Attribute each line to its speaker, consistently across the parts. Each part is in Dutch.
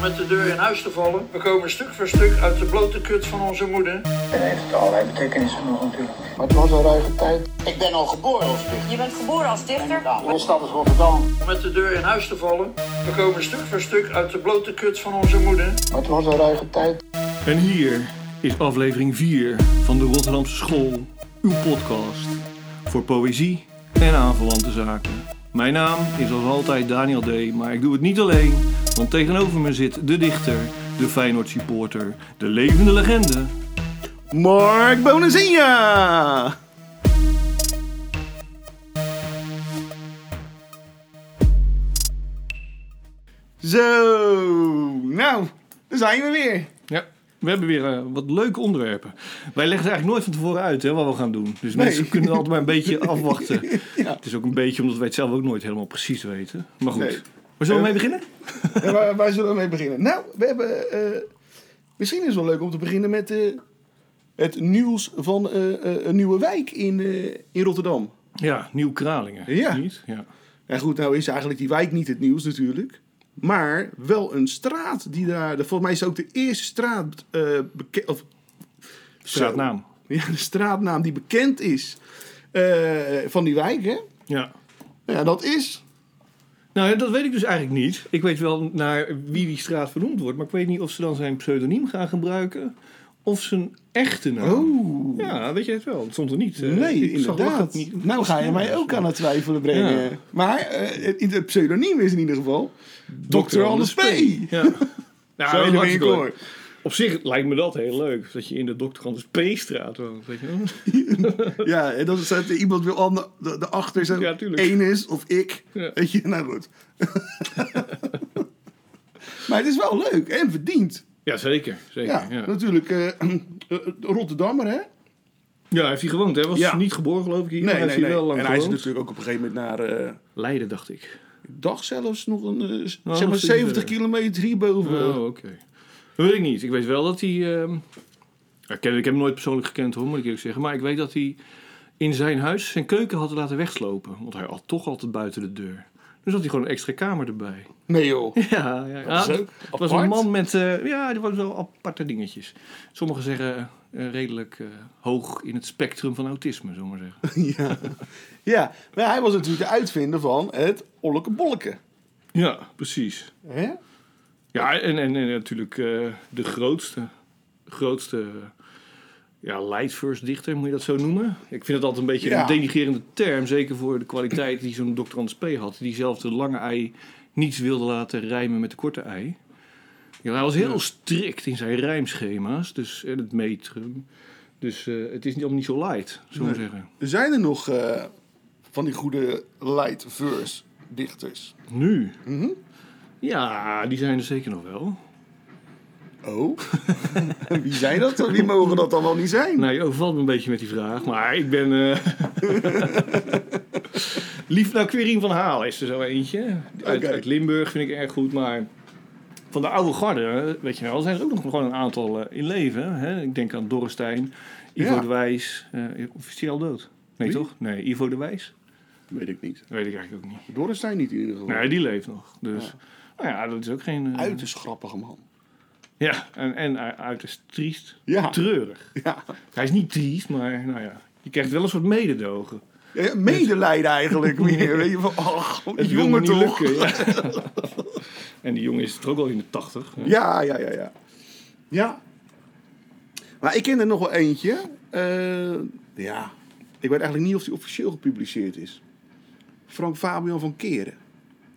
Speaker 1: met de deur in huis te vallen. We komen stuk voor stuk uit de blote kut van onze moeder.
Speaker 2: En heeft allerlei betekenissen nog natuurlijk.
Speaker 3: Maar het was een ruige tijd.
Speaker 2: Ik ben al geboren als dichter.
Speaker 4: Je bent geboren als dichter.
Speaker 2: Mijn stad is Rotterdam.
Speaker 1: Met de deur in huis te vallen. We komen stuk voor stuk uit de blote kut van onze moeder.
Speaker 3: Maar het was een ruige tijd.
Speaker 5: En hier is aflevering 4 van de Rotterdamse School, uw podcast voor poëzie en aanverwante zaken. Mijn naam is als altijd Daniel D., maar ik doe het niet alleen, want tegenover me zit de dichter, de Feyenoord supporter, de levende legende.
Speaker 6: Mark Bonazinha! Zo, nou, daar zijn we weer.
Speaker 5: Ja, we hebben weer eh, wat leuke onderwerpen. Wij leggen eigenlijk nooit van tevoren uit hè, wat we gaan doen, dus mensen kunnen altijd maar een beetje afwachten. Het is ook een beetje omdat wij het zelf ook nooit helemaal precies weten, maar goed.
Speaker 6: Nee. Eh,
Speaker 5: Waar zullen we mee beginnen?
Speaker 6: En waar, waar zullen we mee beginnen? Nou, we hebben. eh, misschien is het wel leuk om te beginnen met eh, het nieuws van eh, eh, een nieuwe wijk in, eh, in Rotterdam.
Speaker 5: Ja, Nieuw Kralingen.
Speaker 6: Ja.
Speaker 5: Niet? ja.
Speaker 6: En goed, nou is eigenlijk die wijk niet het nieuws natuurlijk. Maar wel een straat die daar. de- Volgens mij is het ook de eerste straat eh bekend. Of,
Speaker 5: Straatnaam.
Speaker 6: Zo. Ja, de straatnaam die bekend is eh, van die wijk, hè?
Speaker 5: Ja.
Speaker 6: Ja, dat is.
Speaker 5: Nou, ja, dat weet ik dus eigenlijk niet. Ik weet wel naar wie die straat vernoemd wordt, maar ik weet niet of ze dan zijn pseudoniem gaan gebruiken of zijn echte naam.
Speaker 6: Oh.
Speaker 5: Ja, weet je het wel? Het stond er niet. eh,
Speaker 6: Nee,
Speaker 5: ik zag dat
Speaker 6: inderdaad.
Speaker 5: het niet-
Speaker 6: nou ga je mij ook aan het twijfelen brengen.
Speaker 5: Ja.
Speaker 6: Maar eh, het, het pseudoniem is in ieder geval Dr. Anders P.
Speaker 5: Ja. Nou,
Speaker 6: Zo
Speaker 5: weet je,
Speaker 6: ben ik
Speaker 5: hartstikke
Speaker 6: hoor.
Speaker 5: leuk. Op zich lijkt me dat heel leuk, dat je in de Dr. Anders P-straat woont. Weet je? wel.
Speaker 6: Ja, en dan staat er iemand wil ander, de, de achter zo
Speaker 5: Ja, tuurlijk.
Speaker 6: één is of ik.
Speaker 5: Ja.
Speaker 6: Weet je, nou goed. maar het is wel leuk en verdiend.
Speaker 5: Ja, zeker. zeker
Speaker 6: Ja,
Speaker 5: ja. Ja.
Speaker 6: natuurlijk. eh, eh, Rotterdammer, hè?
Speaker 5: hij heeft hier gewoond, hè? Was
Speaker 6: Ja.
Speaker 5: niet geboren, geloof ik. Hier, maar heeft hier wel lang
Speaker 6: En hij is
Speaker 5: gewoond.
Speaker 6: natuurlijk ook op een gegeven moment naar eh,
Speaker 5: Leiden, dacht ik.
Speaker 6: dag zelfs nog een, eh, s-
Speaker 5: Oh,
Speaker 6: zeg maar
Speaker 5: nog steeds
Speaker 6: 70
Speaker 5: verder.
Speaker 6: kilometer hierboven.
Speaker 5: Oh, oké. Dat weet ik niet. Ik weet wel dat hij... ehm, ja, ik, heb, ik heb hem nooit persoonlijk gekend hoor, moet ik eerlijk zeggen. Maar ik weet dat hij in zijn huis zijn keuken had laten wegslopen. Want hij had toch altijd buiten de deur. Dus had hij gewoon een extra kamer erbij.
Speaker 6: Nee joh.
Speaker 5: Ja, ja. ja.
Speaker 6: is ook
Speaker 5: Het was een
Speaker 6: apart.
Speaker 5: man met... eh, ja, die was wel aparte dingetjes. Sommigen zeggen eh, redelijk eh, hoog in het spectrum van autisme, zullen we maar zeggen.
Speaker 6: ja. ja, maar hij was natuurlijk de uitvinder van het ollekebolleke.
Speaker 5: Ja, precies.
Speaker 6: Hè?
Speaker 5: Ja, en, en, en natuurlijk eh, de grootste, grootste eh, ja, Leidversdichter, moet je dat zo noemen? Ik vind dat altijd een beetje
Speaker 6: Ja.
Speaker 5: een denigerende term, zeker voor de kwaliteit die zo'n Dr. Anders P. had. Die zelf de lange ei niet wilde laten rijmen met de korte ei. Ja, hij was heel strikt in zijn rijmschema's, dus, en het metrum. Dus eh, het is niet- allemaal niet zo light, zullen we zeggen.
Speaker 6: Zijn er nog eh, van die goede light verse dichters?
Speaker 5: Nu? Ja, die zijn er zeker nog wel.
Speaker 6: Oh, wie zijn dat dan? Wie mogen dat dan wel niet zijn?
Speaker 5: Nou, je overvalt me een beetje met die vraag, maar ik ben. eh Lief naar Quirin van Halen is er zo eentje. Uit,
Speaker 6: Oké.
Speaker 5: uit Limburg vind ik erg goed, maar van de oude garde, eh, weet je wel, zijn er ook nog gewoon een aantal eh, in leven. Hè? Ik denk aan Dorrestein, Ivo
Speaker 6: Ja.
Speaker 5: de Wijs. eh of is die al dood? Nee,
Speaker 6: Wie?
Speaker 5: toch? Nee, Ivo de Wijs?
Speaker 6: Weet ik niet.
Speaker 5: Dat weet ik eigenlijk ook niet.
Speaker 6: Doris zijn niet in ieder geval.
Speaker 5: Nee, die leeft nog. Dus, nou ja, dat is ook geen... eh,
Speaker 6: Uiterst grappige man.
Speaker 5: Ja, en, en eh, uiterst triest.
Speaker 6: Ja.
Speaker 5: Treurig.
Speaker 6: Ja.
Speaker 5: Hij is niet triest, maar nou ja, je krijgt wel een soort mededogen.
Speaker 6: Ja, Medelijden eigenlijk meer. Weet je van, ach,
Speaker 5: Het wil me
Speaker 6: jongen
Speaker 5: niet
Speaker 6: toch?
Speaker 5: lukken. Ja. en die jongen is toch ook al in de tachtig. hè?
Speaker 6: Ja, ja, ja, ja. Ja. Maar ik ken er nog wel eentje. Eh, ja. Ik weet eigenlijk niet of die officieel gepubliceerd is. Frank Fabian van Keren.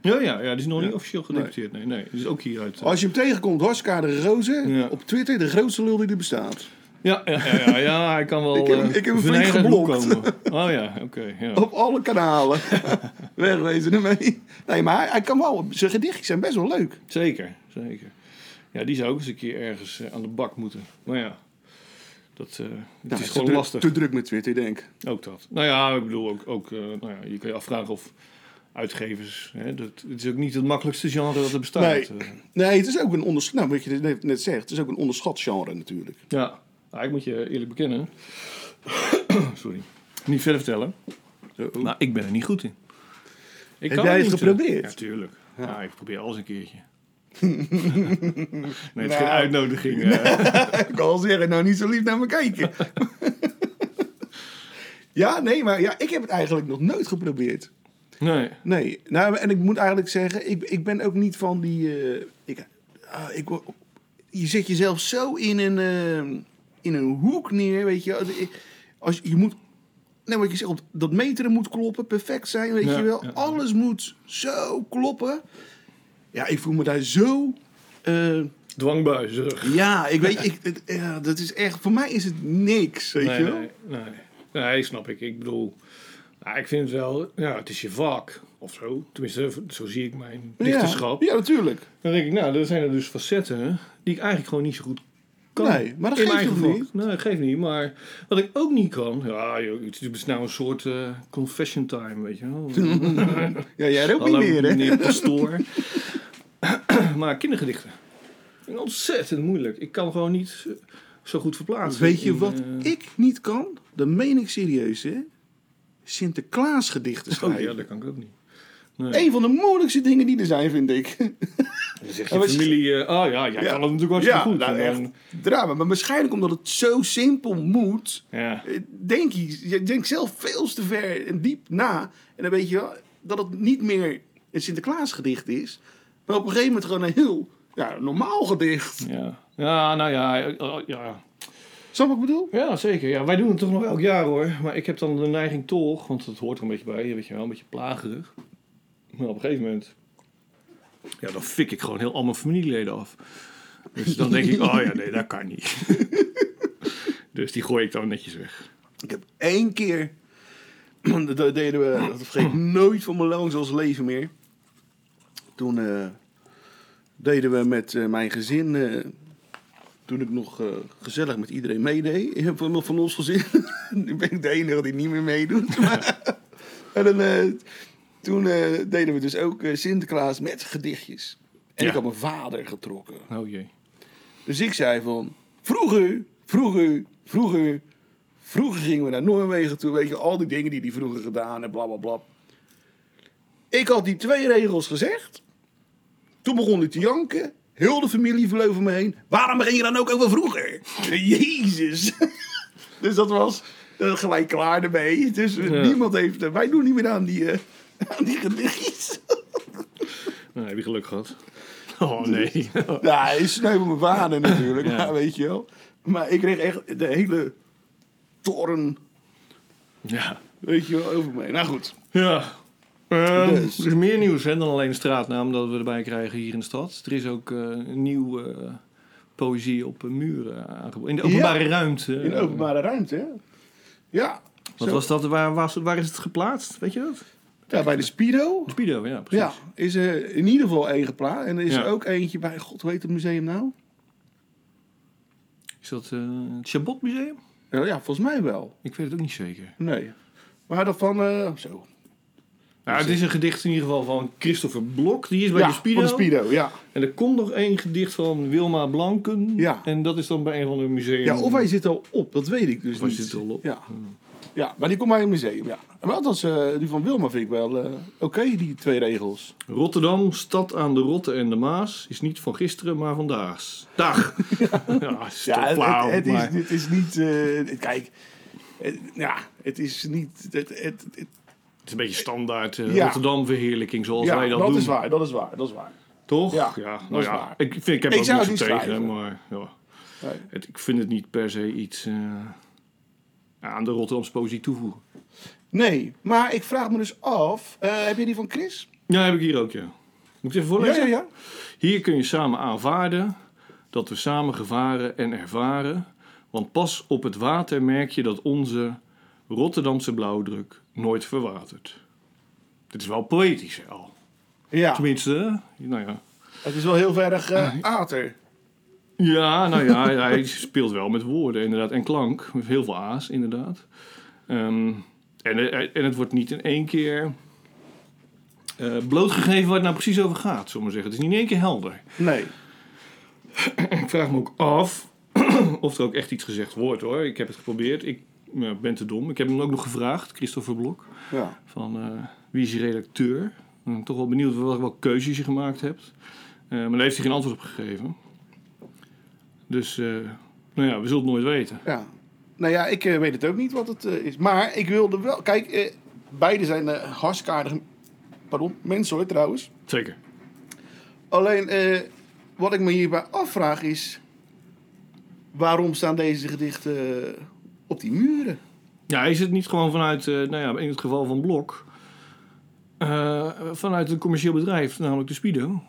Speaker 5: Ja, ja, ja, die is nog niet officieel gedeputeerd. Nee, nee, die is ook hier uit. eh,
Speaker 6: Als je hem tegenkomt, Haskade de Roze.
Speaker 5: Ja.
Speaker 6: Op Twitter, de grootste lul die er bestaat.
Speaker 5: Ja, ja, ja, ja, ja, hij kan wel.
Speaker 6: Ik heb hem-
Speaker 5: eh,
Speaker 6: ik heb hem flink
Speaker 5: venijnig uit de hoek
Speaker 6: geblokt.
Speaker 5: komen. Oh ja, oké. ja.
Speaker 6: Op alle kanalen. Wegwezen ermee. Nee, maar hij, hij kan wel. Zijn gedichtjes zijn best wel leuk.
Speaker 5: Zeker, zeker. Ja, die zou ook eens een keer ergens eh, aan de bak moeten. Maar ja, dat eh, het
Speaker 6: Nou,
Speaker 5: is
Speaker 6: te
Speaker 5: gewoon
Speaker 6: druk-
Speaker 5: lastig.
Speaker 6: Te druk met Twitter, denk ik.
Speaker 5: Ook dat. Nou ja, ik bedoel ook, ook eh, nou ja, je kan je afvragen of uitgevers. Hè, dat, het is ook niet het makkelijkste genre dat er bestaat.
Speaker 6: Nee.
Speaker 5: eh.
Speaker 6: Nee, het is ook een onderschat. Nou, wat je net- net zegt, het is ook een onderschat genre natuurlijk.
Speaker 5: Ja, nou, ik moet je eerlijk bekennen. Sorry. Niet verder vertellen. Maar Nou, ik ben er niet goed in. Ik
Speaker 6: Heb jij het
Speaker 5: niet, eh,
Speaker 6: geprobeerd?
Speaker 5: Ja, tuurlijk. Ja. ik probeer alles een keertje. Nee, het is
Speaker 6: Nou.
Speaker 5: geen uitnodiging. eh.
Speaker 6: Ik kan wel zeggen, nou niet zo lief naar me kijken. ja, nee, maar ja, ik heb het eigenlijk nog nooit geprobeerd.
Speaker 5: Nee.
Speaker 6: Nee, nou, en ik moet eigenlijk zeggen, ik, ik ben ook niet van die... eh, ik, ah, ik, word- je zet jezelf zo in een, eh, in een hoek neer, weet je. Als, als, je moet... Nee, wat je zegt, op- dat meteren moet kloppen, perfect zijn, weet
Speaker 5: Ja,
Speaker 6: je wel.
Speaker 5: ja.
Speaker 6: Alles moet zo kloppen. Ja, ik voel me daar zo... eh,
Speaker 5: Dwangbuizig.
Speaker 6: ja, ik weet, ik, het- ja, dat is echt, voor mij is het niks, weet je
Speaker 5: Nee,
Speaker 6: wel.
Speaker 5: nee, nee. Nee, snap ik. Ik bedoel, nou, ik vind het wel, ja, het is je vak of zo. Tenminste, zo zie ik mijn dichterschap.
Speaker 6: Ja, ja, natuurlijk.
Speaker 5: Dan denk ik, nou, er zijn er dus facetten die ik eigenlijk gewoon niet zo goed kan.
Speaker 6: Nee, maar dat
Speaker 5: In mijn
Speaker 6: geeft
Speaker 5: eigen
Speaker 6: toch
Speaker 5: vak.
Speaker 6: niet?
Speaker 5: Nee, dat geeft niet. Maar wat ik ook niet kan, ja, joh, het is nou een soort eh, confession time, weet je wel.
Speaker 6: Ja, jij ook
Speaker 5: Hallo,
Speaker 6: niet meer, hè?
Speaker 5: meneer Pastoor. maar kindergedichten. Ontzettend moeilijk. Ik kan gewoon niet eh, zo goed verplaatsen.
Speaker 6: Weet je
Speaker 5: in,
Speaker 6: wat
Speaker 5: eh,
Speaker 6: ik niet kan? Dat meen ik serieus, hè? Sinterklaas gedichten
Speaker 5: Oh
Speaker 6: schrijven.
Speaker 5: ja, dat kan ik ook niet. Nee.
Speaker 6: Een van de moeilijkste dingen die er zijn, vind ik.
Speaker 5: Dan zegt
Speaker 6: En
Speaker 5: je
Speaker 6: wat je-
Speaker 5: familie, eh, oh ja, jij
Speaker 6: Ja.
Speaker 5: kan het natuurlijk hartstikke goed. eh,
Speaker 6: nou
Speaker 5: En dan-
Speaker 6: echt. Drama. Maar waarschijnlijk omdat het zo simpel moet,
Speaker 5: Ja.
Speaker 6: eh, denk je, je denkt zelf veel te ver en diep na. En dan weet je wel dat het niet meer een Sinterklaas gedicht is, maar op een gegeven moment gewoon een heel ja, normaal gedicht.
Speaker 5: Ja. ja, nou ja, eh, ja.
Speaker 6: Snap wat ik bedoel?
Speaker 5: Ja, zeker. Ja, wij doen het toch nog elk jaar hoor. Maar ik heb dan de neiging toch, want dat hoort er een beetje bij, weet je wel, een beetje plagerig. Maar op een gegeven moment, ja, dan fik ik gewoon heel al mijn familieleden af. Dus dan denk ik, oh ja, nee, dat kan niet. dus die gooi ik dan netjes weg.
Speaker 6: Ik heb één keer, dat deden we, dat vergeet ik nooit van mijn loonzoals leven meer. Toen eh, deden we met eh, mijn gezin, eh, toen ik nog eh, gezellig met iedereen meedeed, eh, van, van ons gezin. nu ben ik de enige die niet meer meedoet. Maar, en dan, eh, toen eh, deden we dus ook eh, Sinterklaas met gedichtjes. En
Speaker 5: Ja.
Speaker 6: ik had mijn vader getrokken.
Speaker 5: Oh jee.
Speaker 6: Dus ik zei van, vroeger, vroeger, vroeger, vroeger gingen we naar Noorwegen toe. Weet je, al die dingen die hij vroeger gedaan en blablabla. Bla, bla. Ik had die twee regels gezegd. Toen begon hij te janken. Heel de familie vloog om me heen. Waarom ging je dan ook over vroeger? Jezus. dus dat was eh, gelijk klaar ermee. Dus eh,
Speaker 5: Ja.
Speaker 6: niemand heeft... eh, wij doen niet meer aan die, eh, aan die gedichtjes.
Speaker 5: Nou, heb je geluk gehad? Oh nee.
Speaker 6: Ja, hij is sneu voor mijn vader natuurlijk,
Speaker 5: Ja.
Speaker 6: maar weet je wel. Maar ik kreeg echt de hele toren,
Speaker 5: ja.
Speaker 6: weet je wel, over mij. Nou goed.
Speaker 5: Ja. Ehm,
Speaker 6: Dus.
Speaker 5: Er is meer nieuws hè, dan alleen de straatnaam dat we erbij krijgen hier in de stad. Er is ook eh, een nieuw eh, poëzie op eh, muren aangeboden. In de openbare ruimte.
Speaker 6: In de openbare ruimte, hè? Ja.
Speaker 5: Wat
Speaker 6: Zo.
Speaker 5: was dat? Waar, was- waar is het geplaatst? Weet je dat?
Speaker 6: Ja, bij de Spido.
Speaker 5: Speedo, ja, precies.
Speaker 6: Ja, is er in ieder geval één geplaatst. En er is
Speaker 5: Ja.
Speaker 6: er ook eentje bij, god, hoe heet het museum nou?
Speaker 5: Is dat eh, het Chabot Museum?
Speaker 6: Ja, ja, volgens mij wel.
Speaker 5: Ik weet het ook niet zeker.
Speaker 6: Nee. Maar dat van, eh, zo.
Speaker 5: Nou, het is een gedicht in ieder geval van Christopher Blok. Die is bij
Speaker 6: ja,
Speaker 5: de Speedo.
Speaker 6: van de Spido, ja.
Speaker 5: En er komt nog één gedicht van Wilma Blanken.
Speaker 6: Ja.
Speaker 5: En dat is dan bij een van de museum.
Speaker 6: Ja, of hij zit al op, dat weet ik dus
Speaker 5: hij
Speaker 6: niet.
Speaker 5: zit al op.
Speaker 6: Ja. ja, maar die komt bij een museum, ja. Maar althans, eh, die van Wilma vind ik wel eh, oké, die twee regels.
Speaker 5: Rotterdam, stad aan de Rotte en de Maas, is niet van gisteren, maar vandaags. Dag! Ja, is toch
Speaker 6: het,
Speaker 5: flauw,
Speaker 6: het, het is,
Speaker 5: maar-
Speaker 6: het is niet... eh, kijk, het- ja, het is niet... Het, het, het-
Speaker 5: het is een beetje standaard eh,
Speaker 6: Ja.
Speaker 5: Rotterdam-verheerlijking zoals
Speaker 6: ja,
Speaker 5: wij dat,
Speaker 6: dat
Speaker 5: doen.
Speaker 6: is waar, dat is waar, dat is waar.
Speaker 5: Toch?
Speaker 6: Ja,
Speaker 5: nou
Speaker 6: dat is
Speaker 5: ja.
Speaker 6: waar.
Speaker 5: Ik, vind, ik heb
Speaker 6: Ik
Speaker 5: ook
Speaker 6: zou
Speaker 5: niks
Speaker 6: het
Speaker 5: er
Speaker 6: niet
Speaker 5: tegen,
Speaker 6: schrijven.
Speaker 5: maar ja.
Speaker 6: Nee.
Speaker 5: het, ik vind het niet per se iets eh, aan de Rotterdamse poëzie toevoegen.
Speaker 6: Nee, maar ik vraag me dus af... eh, heb je die van Chris?
Speaker 5: Ja, heb ik hier ook, ja. Moet ik het even
Speaker 6: Ja,
Speaker 5: voorlezen?
Speaker 6: ja, ja.
Speaker 5: Hier kun je samen aanvaarden dat we samen gevaren en ervaren. Want pas op het water merk je dat onze Rotterdamse blauwdruk nooit verwatert. Dit is wel poëtisch hè, al.
Speaker 6: Ja,
Speaker 5: Tenminste, hè? nou ja.
Speaker 6: het is wel heel erg eh ater.
Speaker 5: Ja, nou ja, hij speelt wel met woorden inderdaad. En klank, met heel veel a's inderdaad. Ehm, en, eh, en het wordt niet in één keer eh, blootgegeven waar het nou precies over gaat, zullen we maar zeggen. Het is niet in één keer helder.
Speaker 6: Nee.
Speaker 5: Ik vraag me ook af of er ook echt iets gezegd wordt hoor. Ik heb het geprobeerd. Ik ja, ben te dom. Ik heb hem ook nog gevraagd, Christopher Blok,
Speaker 6: Ja.
Speaker 5: van eh, wie is je redacteur? Ik ben toch wel benieuwd wel- welke keuzes je gemaakt hebt. Eh, maar daar heeft hij geen antwoord op gegeven. Dus, eh, nou ja, we zullen het nooit weten.
Speaker 6: Ja. Nou ja, ik eh, weet het ook niet wat het eh, is. Maar ik wilde wel... Kijk, eh, beide zijn eh hartstikke aardige... Pardon, mensen hoor, trouwens.
Speaker 5: Zeker.
Speaker 6: Alleen, eh, wat ik me hierbij afvraag is... Waarom staan deze gedichten eh, op die muren?
Speaker 5: Ja, is het niet gewoon vanuit, eh, nou ja, in het geval van Blok, eh, vanuit een commercieel bedrijf, namelijk de Spido?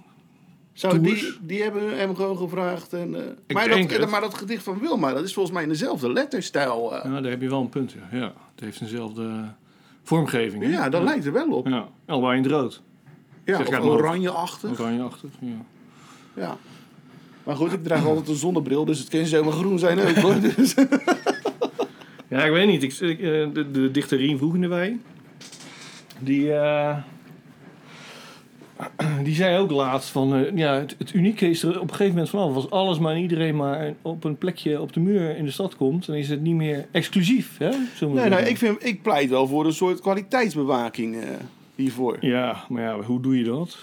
Speaker 6: Zou
Speaker 5: Tours.
Speaker 6: die, die hebben hem gewoon gevraagd. En, eh,
Speaker 5: Ik
Speaker 6: maar, dat,
Speaker 5: denk het.
Speaker 6: maar dat gedicht van Wilma, dat is volgens mij in dezelfde letterstijl. eh.
Speaker 5: Ja, daar heb je wel een punt, ja. ja het heeft eenzelfde vormgeving.
Speaker 6: ja,
Speaker 5: hè?
Speaker 6: dat lijkt er wel op.
Speaker 5: Ja, allebei in het rood.
Speaker 6: Ja,
Speaker 5: Zeg
Speaker 6: of
Speaker 5: jij het maar.
Speaker 6: oranjeachtig.
Speaker 5: Oranjeachtig, ja.
Speaker 6: Ja. Maar goed, ik draag altijd een zonnebril, dus het kan zomaar groen zijn ook hoor. Dus,
Speaker 5: Ja, ik weet niet. Ik, ik, eh, de, de dichter Rien Vroegendewij, die, eh, die zei ook laatst van... eh, ja, het, het unieke is er op een gegeven moment vanaf. Als alles maar en iedereen maar op een plekje op de muur in de stad komt... dan is het niet meer exclusief, hè? zullen we
Speaker 6: nee, nee,
Speaker 5: zeggen.
Speaker 6: ik, vind, ik pleit wel voor een soort kwaliteitsbewaking eh, hiervoor.
Speaker 5: Ja, maar ja, hoe doe je dat?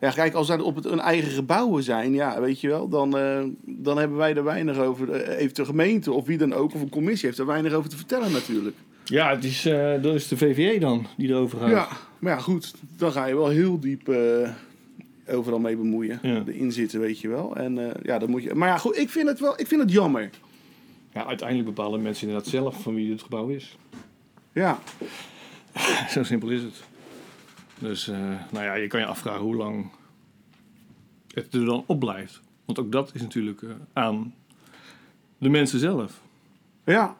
Speaker 6: Ja, kijk, als dat op het, een eigen gebouwen zijn, ja, weet je wel, dan, eh, dan hebben wij er weinig over. eh, heeft de gemeente of wie dan ook, of een commissie, heeft er weinig over te vertellen natuurlijk.
Speaker 5: Ja, het is, eh, dat is de VVE dan die erover gaat.
Speaker 6: Ja, maar ja, goed, dan ga je wel heel diep eh, overal mee bemoeien.
Speaker 5: Ja.
Speaker 6: Erin zitten, weet je wel. En eh, ja, dat moet je. Maar ja, goed, ik vind het wel, ik vind het jammer.
Speaker 5: Ja, uiteindelijk bepalen mensen inderdaad zelf van wie het gebouw is.
Speaker 6: Ja,
Speaker 5: Zo simpel is het. Dus, eh, nou ja, je kan je afvragen hoe lang het er dan op blijft. Want ook dat is natuurlijk eh, aan de mensen zelf.
Speaker 6: ja.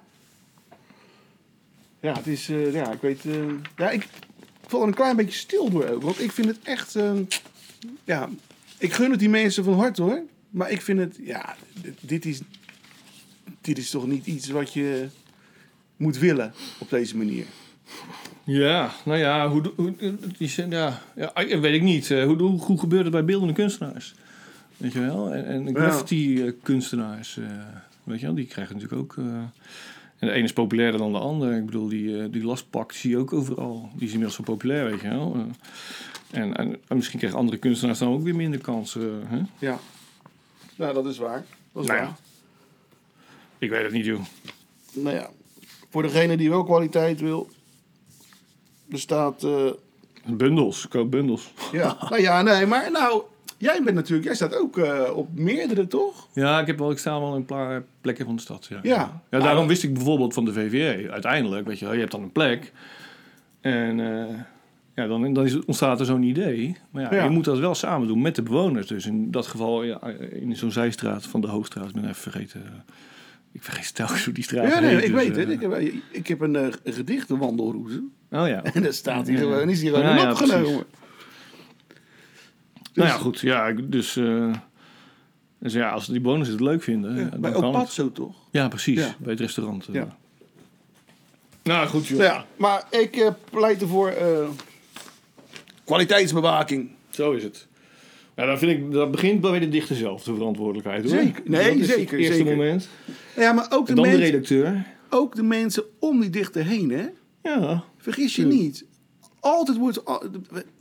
Speaker 6: Ja, het is, eh, ja, ik weet, eh, ja, ik val er een klein beetje stil door ook. Want ik vind het echt, eh, ja, ik gun het die mensen van harte hoor. Maar ik vind het, ja, dit- dit is, dit is toch niet iets wat je moet willen op deze manier.
Speaker 5: Ja, nou ja, hoe, do- hoe, het is, eh, ja, ja, ik- weet ik niet. Eh, Hoe, hoe, hoe gebeurt het bij beeldende kunstenaars? Weet je wel? En, en graffiti-kunstenaars, eh, weet je wel, die krijgen natuurlijk ook... eh, en de ene is populairder dan de ander. Ik bedoel, die, eh, die lastpak zie je ook overal. Die is inmiddels zo populair, weet je wel. Eh, en, en, en misschien krijgen andere kunstenaars dan ook weer minder kansen. hè?
Speaker 6: Ja. Nou, dat is waar. Dat is
Speaker 5: Nou ja.
Speaker 6: waar.
Speaker 5: Ik weet het niet, joh.
Speaker 6: Nou ja, voor degene die wel kwaliteit wil, bestaat... eh
Speaker 5: Bundels, koop bundels.
Speaker 6: ja, nou ja, nee, maar nou, jij bent natuurlijk, jij staat ook eh, op meerdere, toch?
Speaker 5: Ja, ik, heb wel, ik sta wel in een paar plekken van de stad. Ja.
Speaker 6: Ja.
Speaker 5: Ja, daarom wist ik bijvoorbeeld van de VVE. Uiteindelijk, weet je wel, je hebt dan een plek. En eh, ja, dan, dan is, het- ontstaat er zo'n idee. Maar ja,
Speaker 6: Ja.
Speaker 5: je moet dat wel samen doen met de bewoners. Dus in dat geval, ja, in zo'n zijstraat van de Hoogstraat. Ik ben even vergeten. eh, Ik vergeet telkens hoe die straat
Speaker 6: Ja, nee,
Speaker 5: heet,
Speaker 6: ik
Speaker 5: dus,
Speaker 6: weet het.
Speaker 5: eh,
Speaker 6: Ik, heb- ik heb een eh, gedichtenwandelroute
Speaker 5: Oh ja.
Speaker 6: en daar staat hier
Speaker 5: Ja.
Speaker 6: gewoon, is hier gewoon
Speaker 5: Ja,
Speaker 6: in
Speaker 5: ja,
Speaker 6: opgenomen.
Speaker 5: Nou ja, goed. Ja, ik- dus... eh, dus ja, als die bewoners het leuk vinden, eh,
Speaker 6: Ja,
Speaker 5: dan
Speaker 6: bij
Speaker 5: kan het.
Speaker 6: Opatso, toch?
Speaker 5: Ja, precies.
Speaker 6: Ja.
Speaker 5: Bij het restaurant. eh.
Speaker 6: Ja.
Speaker 5: Nou, goed joh.
Speaker 6: Nou ja, maar ik eh, pleit ervoor eh, kwaliteitsbewaking.
Speaker 5: Zo is het. Ja, dat, vind ik, dat begint bij de dichter zelf, de verantwoordelijkheid. Hoor.
Speaker 6: Zeker.
Speaker 5: Dat
Speaker 6: Nee,
Speaker 5: is
Speaker 6: zeker,
Speaker 5: Het eerste
Speaker 6: zeker.
Speaker 5: moment.
Speaker 6: Ja, maar ook de,
Speaker 5: En dan de
Speaker 6: mensen,
Speaker 5: redacteur.
Speaker 6: ook de mensen om die dichter heen, hè?
Speaker 5: Ja.
Speaker 6: Vergis
Speaker 5: Hmm.
Speaker 6: je niet. Altijd wordt al-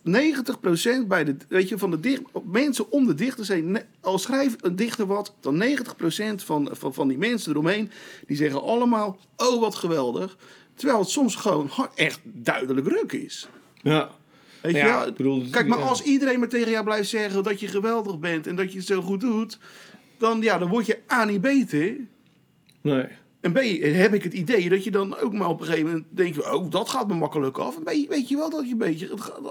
Speaker 6: 90% bij de, weet je, van de dicht, mensen om de dichter zijn. ne- Al schrijft een dichter wat, dan 90% van, van, van die mensen eromheen. die zeggen allemaal: Oh, wat geweldig. Terwijl het soms gewoon hard, echt duidelijk ruk is.
Speaker 5: ja.
Speaker 6: Weet
Speaker 5: Ja,
Speaker 6: je wel?
Speaker 5: ik bedoel,
Speaker 6: Kijk, maar
Speaker 5: ja.
Speaker 6: als iedereen maar tegen jou blijft zeggen dat je geweldig bent en dat je het zo goed doet. dan, ja, dan word je A niet beter.
Speaker 5: Nee.
Speaker 6: En B, heb ik het idee dat je dan ook maar op een gegeven moment denkt... oh, dat gaat me makkelijk af. En B, weet je wel dat je een beetje... Het gaat,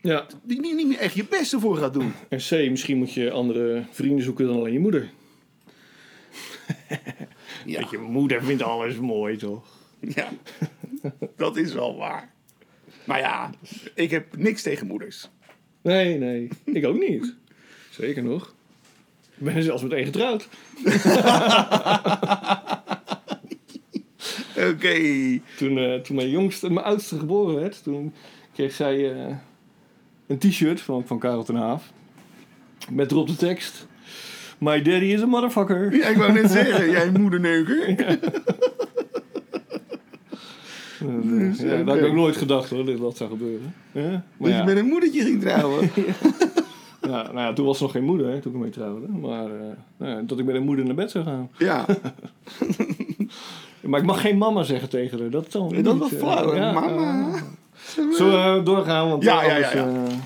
Speaker 5: Ja.
Speaker 6: die niet, niet meer echt je best ervoor gaat doen.
Speaker 5: En C, misschien moet je andere vrienden zoeken dan alleen je moeder.
Speaker 6: Ja.
Speaker 5: Want je moeder vindt alles mooi, toch?
Speaker 6: Ja, dat is wel waar. Maar ja, ik heb niks tegen moeders.
Speaker 5: Nee, nee. Ik ook niet. Zeker nog. Ik ben er zelfs meteen getrouwd.
Speaker 6: Oké.
Speaker 5: Toen, eh, toen mijn jongste, mijn oudste geboren werd, toen kreeg zij eh, een t-shirt van, van Karel ten Haaf. Met erop de tekst. My daddy is a motherfucker. Eh,
Speaker 6: Ja, ik wou net zeggen, jij moederneuker.
Speaker 5: Dus, ja, Dat had
Speaker 6: oké.
Speaker 5: ik ook nooit gedacht hoor, dat dat zou gebeuren. Ja? Maar
Speaker 6: Dat je
Speaker 5: ja,
Speaker 6: met een moedertje ging trouwen.
Speaker 5: ja, nou, nou ja, toen was ze nog geen moeder, hè, toen ik mee trouwde. Maar eh, nou ja, dat ik met een moeder naar bed zou gaan.
Speaker 6: Ja,
Speaker 5: Maar ik mag geen mama zeggen tegen haar. Dat dan
Speaker 6: dat
Speaker 5: niet,
Speaker 6: was
Speaker 5: eh,
Speaker 6: flauw. hè?
Speaker 5: ja,
Speaker 6: Mama.
Speaker 5: ja. Zullen we doorgaan? Want
Speaker 6: Ja,
Speaker 5: eh,
Speaker 6: ja, ja,
Speaker 5: anders,
Speaker 6: ja.
Speaker 5: eh,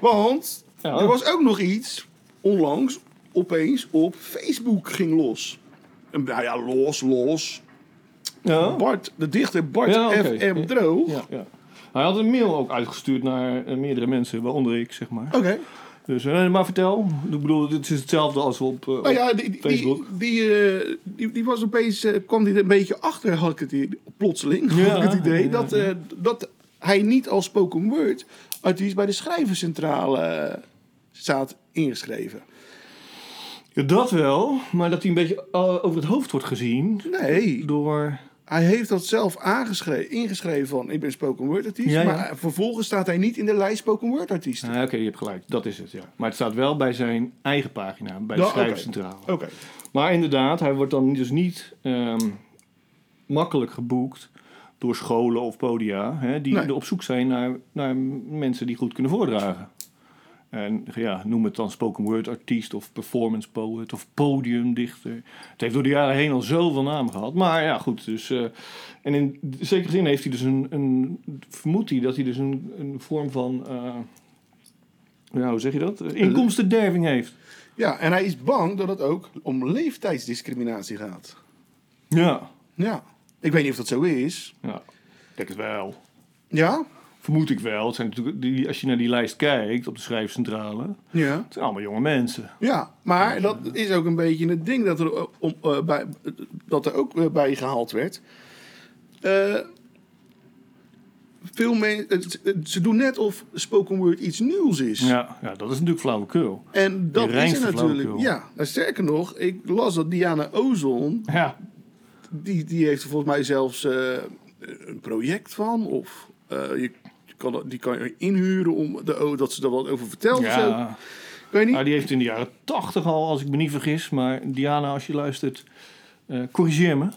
Speaker 6: Want
Speaker 5: Ja.
Speaker 6: er was ook nog iets onlangs opeens op Facebook ging los. En, nou ja, los, los.
Speaker 5: ja.
Speaker 6: Bart, de dichter Bart
Speaker 5: Oh. Ja, oké.
Speaker 6: FM Droog.
Speaker 5: Ja, ja. Hij had een mail ook uitgestuurd naar eh, meerdere mensen, waaronder ik, zeg maar.
Speaker 6: Oké.
Speaker 5: Dus, eh, maar vertel. Ik bedoel, dit is hetzelfde als op, eh,
Speaker 6: Nou
Speaker 5: op
Speaker 6: ja, die, die, die,
Speaker 5: Facebook.
Speaker 6: die, eh, die, die was opeens, eh, kwam die er een beetje achter, had ik het idee, plotseling,
Speaker 5: Ja,
Speaker 6: had ik het idee,
Speaker 5: ja,
Speaker 6: dat,
Speaker 5: ja.
Speaker 6: eh, dat hij niet als spoken word artiest bij de schrijverscentrale eh, staat ingeschreven.
Speaker 5: Ja, dat wel, maar dat hij een beetje eh, over het hoofd wordt gezien
Speaker 6: Nee,
Speaker 5: door...
Speaker 6: hij heeft dat zelf aangeschreven, ingeschreven van ik ben spoken word artiest,
Speaker 5: Ja, ja.
Speaker 6: maar vervolgens staat hij niet in de lijst spoken word artiesten.
Speaker 5: Ah, Oké, je hebt gelijk. Dat is het, ja. Maar het staat wel bij zijn eigen pagina, bij de
Speaker 6: Nou, oké.
Speaker 5: schrijfcentrale.
Speaker 6: Oké.
Speaker 5: Maar inderdaad, hij wordt dan dus niet ehm, makkelijk geboekt door scholen of podia... Hè, die
Speaker 6: Nee.
Speaker 5: er op zoek zijn naar, naar mensen die goed kunnen voordragen. En ja, noem het dan spoken word artiest of performance poet of podiumdichter. Het heeft door de jaren heen al zoveel namen gehad. Maar ja, goed. Dus, eh, en in zekere zin heeft hij dus een, een vermoedt hij dat hij dus een, een vorm van, eh, ja, hoe zeg je dat?
Speaker 6: Eh,
Speaker 5: Inkomstenderving heeft.
Speaker 6: Ja, en hij is bang dat het ook om leeftijdsdiscriminatie gaat.
Speaker 5: Ja.
Speaker 6: Ja. Ik weet niet of dat zo is.
Speaker 5: ja. Ik denk het wel.
Speaker 6: Ja?
Speaker 5: Vermoed ik wel. Het zijn natuurlijk, die, als je naar die lijst kijkt op de schrijfcentrale, het
Speaker 6: Ja.
Speaker 5: zijn allemaal jonge mensen.
Speaker 6: Ja, maar dat is ook een beetje het ding dat er, eh, om, eh, bij, eh, dat er ook eh, bij gehaald werd. Eh, veel mensen, ze doen net of spoken word iets nieuws is.
Speaker 5: Ja, ja dat is natuurlijk flauwekul.
Speaker 6: En dat is
Speaker 5: reinste
Speaker 6: er natuurlijk.
Speaker 5: flauwekul.
Speaker 6: Ja, nou, sterker nog, ik las dat Diana Ozon,
Speaker 5: Ja,
Speaker 6: die, die heeft er volgens mij zelfs eh, een project van. Of eh, je, je kan, dat- die kan je inhuren om de, O- dat ze daar wat over vertelt. of zo.
Speaker 5: ja.
Speaker 6: Ik weet niet.
Speaker 5: Nou, die heeft in de jaren tachtig al, als ik me niet vergis. Maar Diana, als je luistert, eh, corrigeer me.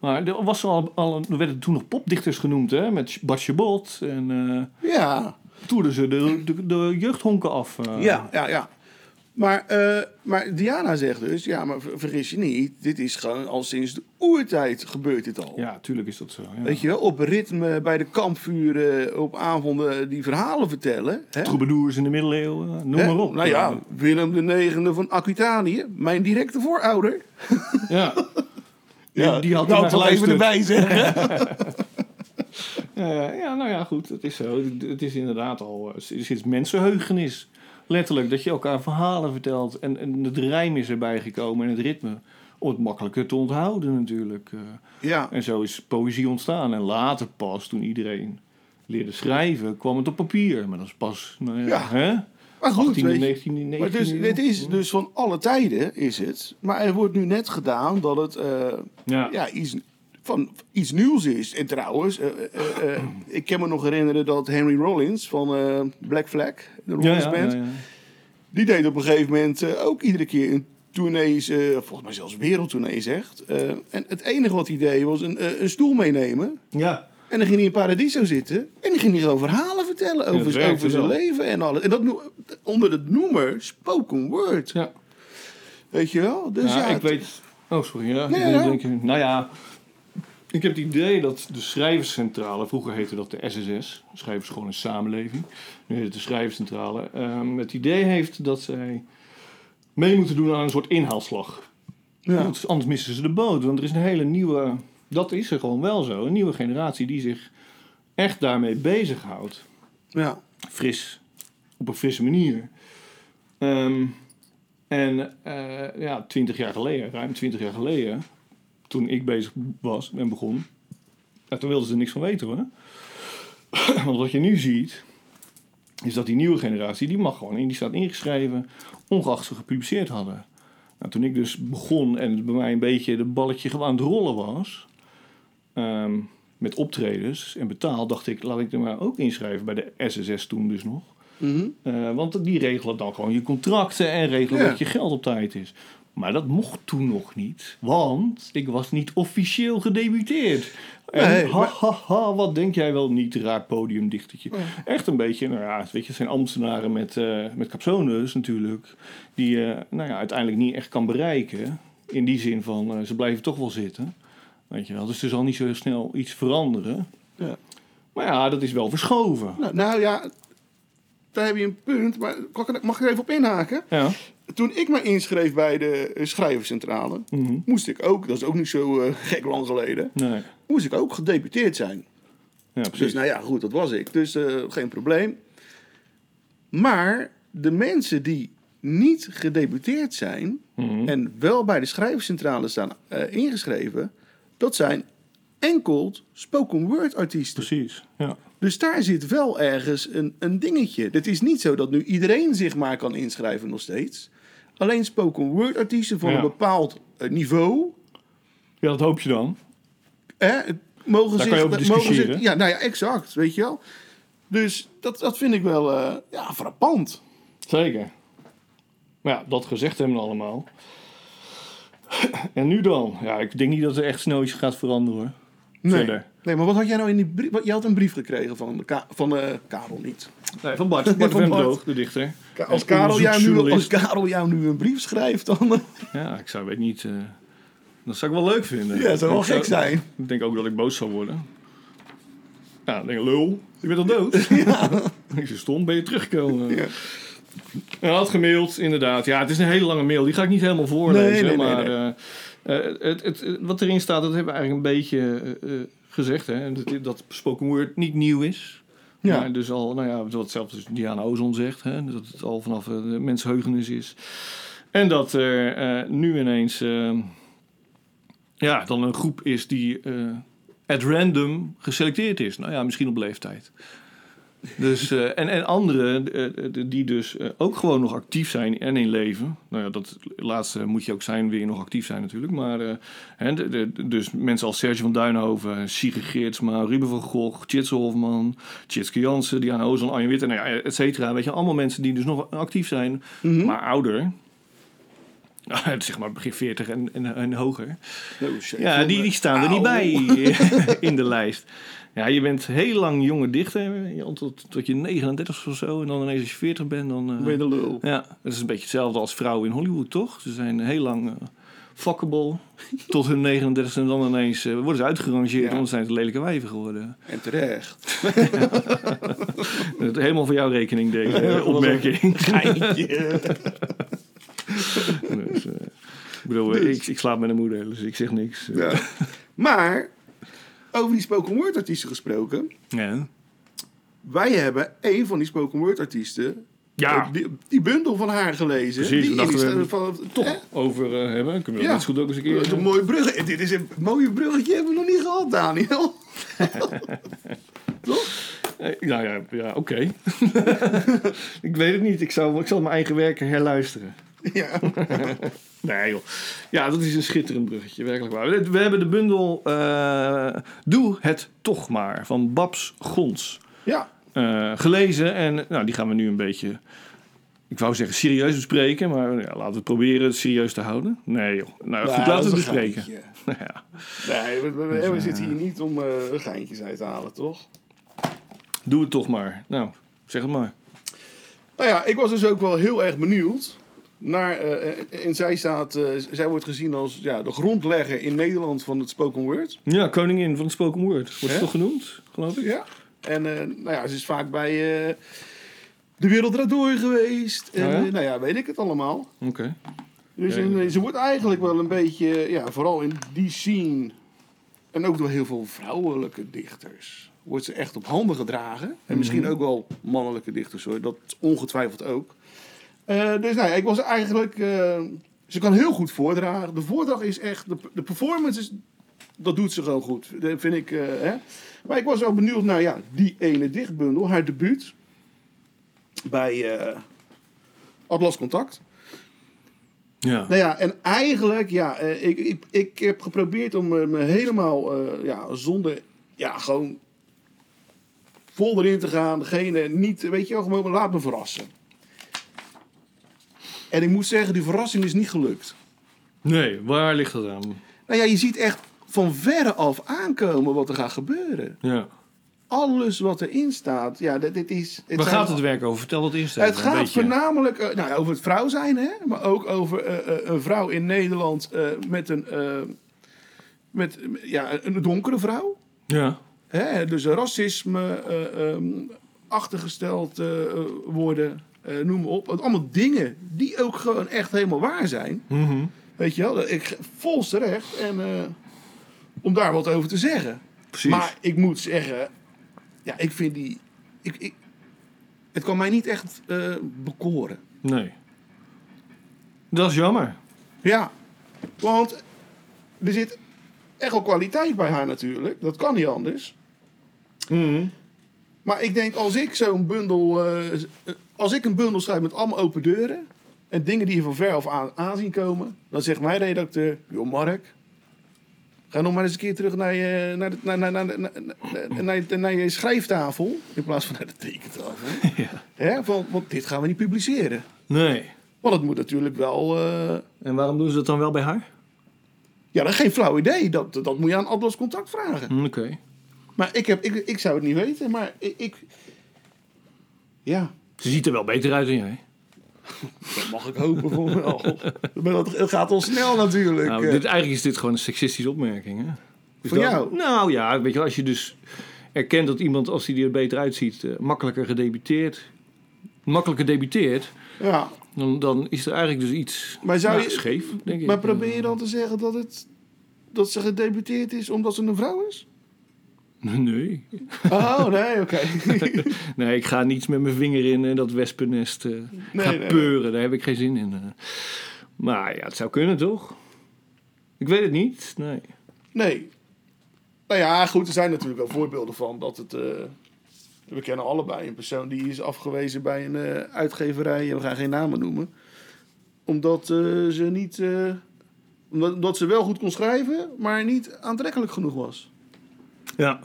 Speaker 5: Maar er, was al, al, een- er werden toen nog popdichters genoemd, hè? Met Bartje Bot. En eh
Speaker 6: Ja.
Speaker 5: toerden ze de, de, de jeugdhonken af. eh.
Speaker 6: Ja, ja, ja. Maar, eh, maar Diana zegt dus, ja, maar ver- vergis je niet, dit is gewoon al sinds de oertijd gebeurt dit al.
Speaker 5: Ja, tuurlijk is dat zo. Ja.
Speaker 6: Weet je wel, op ritme, bij de kampvuren, op avonden die verhalen vertellen. Hè?
Speaker 5: Troubadours in de middeleeuwen, eh, noem
Speaker 6: Hè?
Speaker 5: maar op.
Speaker 6: Nou ja, Willem IX van Aquitanië, mijn directe voorouder.
Speaker 5: ja. Die, die had
Speaker 6: nou,
Speaker 5: ernaar
Speaker 6: toch even
Speaker 5: geluisterd.
Speaker 6: erbij zeggen.
Speaker 5: Eh, ja, nou ja, goed, het is zo. Het- Het is inderdaad al eh, sinds sinds mensenheugenis. Letterlijk, dat je elkaar verhalen vertelt. En, en het rijm is erbij gekomen en het ritme. Om het makkelijker te onthouden natuurlijk. eh.
Speaker 6: ja,
Speaker 5: En zo is poëzie ontstaan. En later pas, toen iedereen leerde schrijven, kwam het op papier. Maar dat is pas, nou ja,
Speaker 6: Ja.
Speaker 5: hè?
Speaker 6: maar goed,
Speaker 5: 18e,
Speaker 6: weet je.
Speaker 5: 19e, 19e.
Speaker 6: Maar dus, dit is dus van alle tijden, is het. Maar er wordt nu net gedaan dat het... eh,
Speaker 5: Ja.
Speaker 6: ja, iets, van iets nieuws is. En trouwens, eh, eh, eh, ik kan me nog herinneren dat Henry Rollins van eh, Black Flag, de
Speaker 5: Ja,
Speaker 6: Rollins
Speaker 5: ja,
Speaker 6: Band,
Speaker 5: ja, ja.
Speaker 6: die deed op een gegeven moment eh, ook iedere keer een tournee, eh, volgens mij zelfs wereldtournee zegt. Eh, en het enige wat hij deed was een, eh, een stoel meenemen.
Speaker 5: Ja.
Speaker 6: En dan ging hij in Paradiso zitten. En dan ging hij gewoon verhalen vertellen
Speaker 5: dat
Speaker 6: over,
Speaker 5: werkte
Speaker 6: over zijn
Speaker 5: wel.
Speaker 6: leven en alles. En dat no- onder het noemer spoken word.
Speaker 5: Ja.
Speaker 6: Weet je wel? Dus
Speaker 5: ja,
Speaker 6: ja,
Speaker 5: ik
Speaker 6: het-
Speaker 5: weet. Oh, sorry. Ja.
Speaker 6: Nee,
Speaker 5: Ik
Speaker 6: ja.
Speaker 5: denk- denk- nou ja, ik heb het idee dat de schrijverscentrale, vroeger heette dat de SSS, Schrijverschool en Samenleving, nu heet het de schrijverscentrale, ehm, het idee heeft dat zij mee moeten doen aan een soort inhaalslag.
Speaker 6: Ja.
Speaker 5: Want anders missen ze de boot, want er is een hele nieuwe, dat is er gewoon wel zo, een nieuwe generatie die zich echt daarmee bezighoudt
Speaker 6: Ja.
Speaker 5: fris, op een frisse manier. Ehm, en eh, ja, twintig jaar geleden, ruim twintig jaar geleden, toen ik bezig was en begon, ja, Nou, toen wilden ze er niks van weten hoor. Want wat je nu ziet, is dat die nieuwe generatie, die mag gewoon in, die staat ingeschreven, ongeacht ze gepubliceerd hadden. Nou, toen ik dus begon en het bij mij een beetje de balletje gewoon aan het rollen was, ehm, met optredens en betaald, dacht ik, laat ik er maar ook inschrijven bij de SSS toen dus nog.
Speaker 6: Mhm.
Speaker 5: Eh, want die regelen dan gewoon je contracten en regelen
Speaker 6: Ja.
Speaker 5: dat je geld op tijd is. Maar dat mocht toen nog niet, want ik was niet officieel gedebuteerd. En
Speaker 6: Nee,
Speaker 5: ha,
Speaker 6: maar-
Speaker 5: ha, ha, wat denk jij wel niet, raar podiumdichtertje. Echt een beetje, nou ja, weet je, het zijn ambtenaren met, eh met capsones natuurlijk. Die je nou ja, uiteindelijk niet echt kan bereiken. In die zin van, eh, ze blijven toch wel zitten. Weet je wel, dus er zal niet zo heel snel iets veranderen.
Speaker 6: Ja.
Speaker 5: Maar ja, dat is wel verschoven.
Speaker 6: Nou, nou ja, daar heb je een punt. Maar mag ik- mag ik er even op inhaken?
Speaker 5: Ja,
Speaker 6: Toen ik me inschreef bij de eh, schrijverscentrale,
Speaker 5: Mhm.
Speaker 6: moest ik ook, dat is ook niet zo eh, gek lang geleden,
Speaker 5: nee.
Speaker 6: moest ik ook gedeputeerd zijn.
Speaker 5: Ja,
Speaker 6: Dus
Speaker 5: precies.
Speaker 6: nou ja, goed, dat was ik. Dus eh, geen probleem. Maar de mensen die niet gedeputeerd zijn
Speaker 5: Mhm.
Speaker 6: en wel bij de schrijverscentrale staan eh, ingeschreven, dat zijn enkel spoken word artiesten.
Speaker 5: Precies, ja.
Speaker 6: Dus daar zit wel ergens een, een dingetje. Het is niet zo dat nu iedereen zich maar kan inschrijven nog steeds. Alleen spoken word artiesten van
Speaker 5: Ja.
Speaker 6: een bepaald eh, niveau
Speaker 5: Ja, dat hoop je dan.
Speaker 6: hè, mogen
Speaker 5: Daar
Speaker 6: zich,
Speaker 5: kan je over
Speaker 6: mogen zich-
Speaker 5: discussiëren.
Speaker 6: ja, nou ja, exact, weet je wel. Dus dat, dat vind ik wel eh, ja, frappant.
Speaker 5: Zeker. Maar ja, dat gezegd hebben we allemaal. En nu dan? Ja, ik denk niet dat er echt snel iets gaat veranderen hoor. Verder.
Speaker 6: nee, maar wat had jij nou in die brief? wat- Je had een brief gekregen van, de Ka- van eh, Karel niet.
Speaker 5: Nee, van Bart. Bart
Speaker 6: Van Bart.
Speaker 5: Vendroog, de dichter.
Speaker 6: Ka-
Speaker 5: En
Speaker 6: Als Karel, jou nu, als
Speaker 5: onderzoeksjournalist.
Speaker 6: Karel jou nu een brief schrijft, dan... eh,
Speaker 5: Ja, ik zou weet niet... eh, dat zou ik wel leuk vinden.
Speaker 6: ja, dat zou wel
Speaker 5: Ik
Speaker 6: gek zijn.
Speaker 5: Ik denk ook dat ik boos zou worden. Ja, ik denk lul. Je bent al dood. Ik zo stom, ben je teruggekomen.
Speaker 6: Ja.
Speaker 5: Hij had gemaild, inderdaad. Ja, het is een hele lange mail. Die ga ik niet helemaal voorlezen.
Speaker 6: Nee, nee, nee,
Speaker 5: maar
Speaker 6: nee.
Speaker 5: eh, eh, het, het, het- wat erin staat, dat hebben we eigenlijk een beetje eh, eh, gezegd. Hè? Dat, dat spoken word niet nieuw is.
Speaker 6: Ja.
Speaker 5: Maar dus al, nou ja, wat hetzelfde als Diana Ozon zegt. Hè? Dat het al vanaf eh, de mensheugenis is. En dat er eh, nu ineens eh, ja, dan een groep is die eh, at random geselecteerd is. Nou ja, misschien op leeftijd. Dus, eh, en, en anderen eh, eh, die dus eh, ook gewoon nog actief zijn en in leven. Nou ja, dat laatste moet je ook zijn, wil je nog actief zijn natuurlijk. Maar eh, hè, de- de- dus mensen als Serge van Duinhoven, Siege Geertsma, Ruben van Gogh, Tjitse Hofman, Tjitske Jansen, Diana Ozan, Arjen Witte, nou ja, et cetera. Weet je, allemaal mensen die dus nog actief zijn, maar ouder. Nou, zeg maar begin 40 en, en, en hoger.
Speaker 6: Oh, shit.
Speaker 5: Ja, die, die staan er niet bij in de lijst. Ja, je bent heel lang jonge dichter, je- tot, tot je 39 is of zo. En dan ineens als je 40 bent, dan... eh,
Speaker 6: Ben je de lul.
Speaker 5: ja, dat is een beetje hetzelfde als vrouwen in Hollywood, toch? Ze zijn heel lang eh, fuckable tot hun 39 en dan ineens eh, worden ze uitgerangeerd.
Speaker 6: Ja.
Speaker 5: en Dan zijn ze lelijke wijven geworden.
Speaker 6: En terecht.
Speaker 5: Het- Helemaal voor jouw rekening deze eh, opmerking. Dus, eh, ik bedoel, eh, ik, ik slaap met een moeder, dus ik zeg niks.
Speaker 6: Ja. maar, over die spoken word artiesten gesproken.
Speaker 5: Ja.
Speaker 6: Wij hebben één van die spoken word artiesten...
Speaker 5: Ja.
Speaker 6: eh, Die, die bundel van haar gelezen.
Speaker 5: Precies,
Speaker 6: die
Speaker 5: we dachten,
Speaker 6: in
Speaker 5: we hebben-
Speaker 6: die- van,
Speaker 5: toch
Speaker 6: hè?
Speaker 5: over eh, hebben. Kunnen we
Speaker 6: Ja.
Speaker 5: dat net zo goed ook eens een keer... eh,
Speaker 6: Het is een mooi bruggetje. Dit is een mooie bruggetje hebben we nog niet gehad, Daniel.
Speaker 5: Eh, nou ja, ja oké. ik weet het niet. Ik zal, ik zal mijn eigen werken herluisteren.
Speaker 6: Ja.
Speaker 5: Nee joh. Ja, dat is een schitterend bruggetje, werkelijk waar. We- We hebben de bundel eh, Doe het toch maar van Babs Gons
Speaker 6: Ja.
Speaker 5: eh, gelezen. En nou, die gaan we nu een beetje, ik wou zeggen serieus bespreken. Maar ja, laten we het proberen het serieus te houden. Nee joh. Nou goed, laten we het bespreken. Dus, Nou ja.
Speaker 6: Nee, we, we- we zitten hier niet om eh, geintjes uit te halen, toch?
Speaker 5: Doe het toch maar. Nou, zeg het maar.
Speaker 6: Nou ja, ik was dus ook wel heel erg benieuwd. Naar, eh, en zij, staat, eh, zij wordt gezien als ja, de grondlegger in Nederland van het spoken word.
Speaker 5: Ja, koningin van het spoken word. Wordt
Speaker 6: Hè?
Speaker 5: ze toch genoemd, geloof ik?
Speaker 6: Ja. En eh, nou ja, ze is vaak bij eh, De Wereld Draait Door geweest. En,
Speaker 5: Oh ja?
Speaker 6: eh, nou ja, weet ik het allemaal.
Speaker 5: Oké.
Speaker 6: Dus
Speaker 5: Ja,
Speaker 6: een-
Speaker 5: inderdaad.
Speaker 6: ze wordt eigenlijk wel een beetje, ja, vooral in die scene. En ook door heel veel vrouwelijke dichters. Wordt ze echt op handen gedragen.
Speaker 5: Mhm.
Speaker 6: En misschien ook wel mannelijke dichters hoor. Dat ongetwijfeld ook. Eh, dus nou ja, ik was eigenlijk. eh, ze kan heel goed voordragen. De voordracht is echt. De, de performance is. Dat doet ze gewoon goed. Dat vind ik. eh, hè. Maar ik was wel benieuwd naar ja, die ene dichtbundel. Haar debuut. Bij eh, Atlas Contact.
Speaker 5: Ja.
Speaker 6: Nou ja, en eigenlijk, ja, eh, ik, ik, ik heb geprobeerd om eh, me helemaal eh, ja, zonder, ja, gewoon vol erin te gaan. Geen, eh, niet, weet je wel, gewoon laat me verrassen. En ik moet zeggen, die verrassing is niet gelukt.
Speaker 5: Nee, waar ligt dat aan?
Speaker 6: Nou ja, je ziet echt van verre af aankomen wat er gaat gebeuren.
Speaker 5: Ja.
Speaker 6: Alles wat erin staat, ja, dit, dit is... het
Speaker 5: Waar
Speaker 6: zijn-
Speaker 5: gaat het werk over? Vertel dat eerst even.
Speaker 6: Het
Speaker 5: een
Speaker 6: gaat
Speaker 5: beetje.
Speaker 6: voornamelijk eh, nou, over het vrouw zijn, hè? maar ook over eh, eh, een vrouw in Nederland eh, met, een, eh, met ja, een donkere vrouw.
Speaker 5: Ja.
Speaker 6: Hè? Dus racisme, eh, ehm, achtergesteld eh, worden, eh, noem maar op. Allemaal dingen die ook gewoon echt helemaal waar zijn.
Speaker 5: Mhm.
Speaker 6: Weet je wel, ik, volst terecht en, eh, om daar wat over te zeggen.
Speaker 5: Precies.
Speaker 6: Maar ik moet zeggen, ja, ik vind die. Ik, ik, het kan mij niet echt eh, bekoren.
Speaker 5: Nee. Dat is jammer.
Speaker 6: Ja, want er zit echt wel kwaliteit bij haar natuurlijk. Dat kan niet anders. Mhm. Maar ik denk, als ik zo'n bundel. eh, z- eh, als ik een bundel schrijf met allemaal open deuren. en dingen die je van ver af aan, aanzien komen. dan zegt mijn redacteur: Joh, Mark. Ga nog maar eens een keer terug naar je, naar de, naar, naar, naar, naar, naar, naar je- naar je schrijftafel. In plaats van naar de tekentafel.
Speaker 5: Ja.
Speaker 6: Hè, van, want dit gaan we niet publiceren.
Speaker 5: Nee.
Speaker 6: Want het moet natuurlijk wel. eh,
Speaker 5: En waarom doen ze dat dan wel bij haar?
Speaker 6: Ja, dat is geen flauw idee. Dat, dat moet je aan Atlas Contact vragen.
Speaker 5: Mm, Oké.
Speaker 6: Maar ik, heb, ik, ik zou het niet weten, maar ik... ik- ja,
Speaker 5: Ze ziet er wel beter uit dan jij.
Speaker 6: dat mag ik hopen voor wel. Maar dat, het gaat al snel natuurlijk.
Speaker 5: Nou,
Speaker 6: Eh,
Speaker 5: dit, eigenlijk is dit gewoon een seksistische opmerking. Hè? Dus
Speaker 6: Van
Speaker 5: dat-
Speaker 6: jou?
Speaker 5: Nou ja, weet je, wel, als je dus erkent dat iemand, als hij er beter uitziet, eh, makkelijker gedebuteerd, makkelijker debuteert,
Speaker 6: ja.
Speaker 5: dan, dan is er eigenlijk dus iets
Speaker 6: Maar zou
Speaker 5: ja,
Speaker 6: je-
Speaker 5: scheef, denk ik.
Speaker 6: Maar probeer je dan te zeggen dat, het, dat ze gedebuteerd is omdat ze een vrouw is?
Speaker 5: Nee.
Speaker 6: Oh, nee, oké.
Speaker 5: nee, ik ga niets met mijn vinger in en dat wespennest eh
Speaker 6: Nee,
Speaker 5: gaan
Speaker 6: nee,
Speaker 5: peuren. Daar heb ik geen zin in. eh. Maar ja, het zou kunnen, toch? Ik weet het niet. Nee.
Speaker 6: Nee. Nou ja, goed, er zijn natuurlijk wel voorbeelden van dat het... eh, we kennen allebei een persoon die is afgewezen bij een eh, uitgeverij. en We gaan geen namen noemen. Omdat eh, ze niet... eh, omdat, omdat ze wel goed kon schrijven, maar niet aantrekkelijk genoeg was.
Speaker 5: Ja.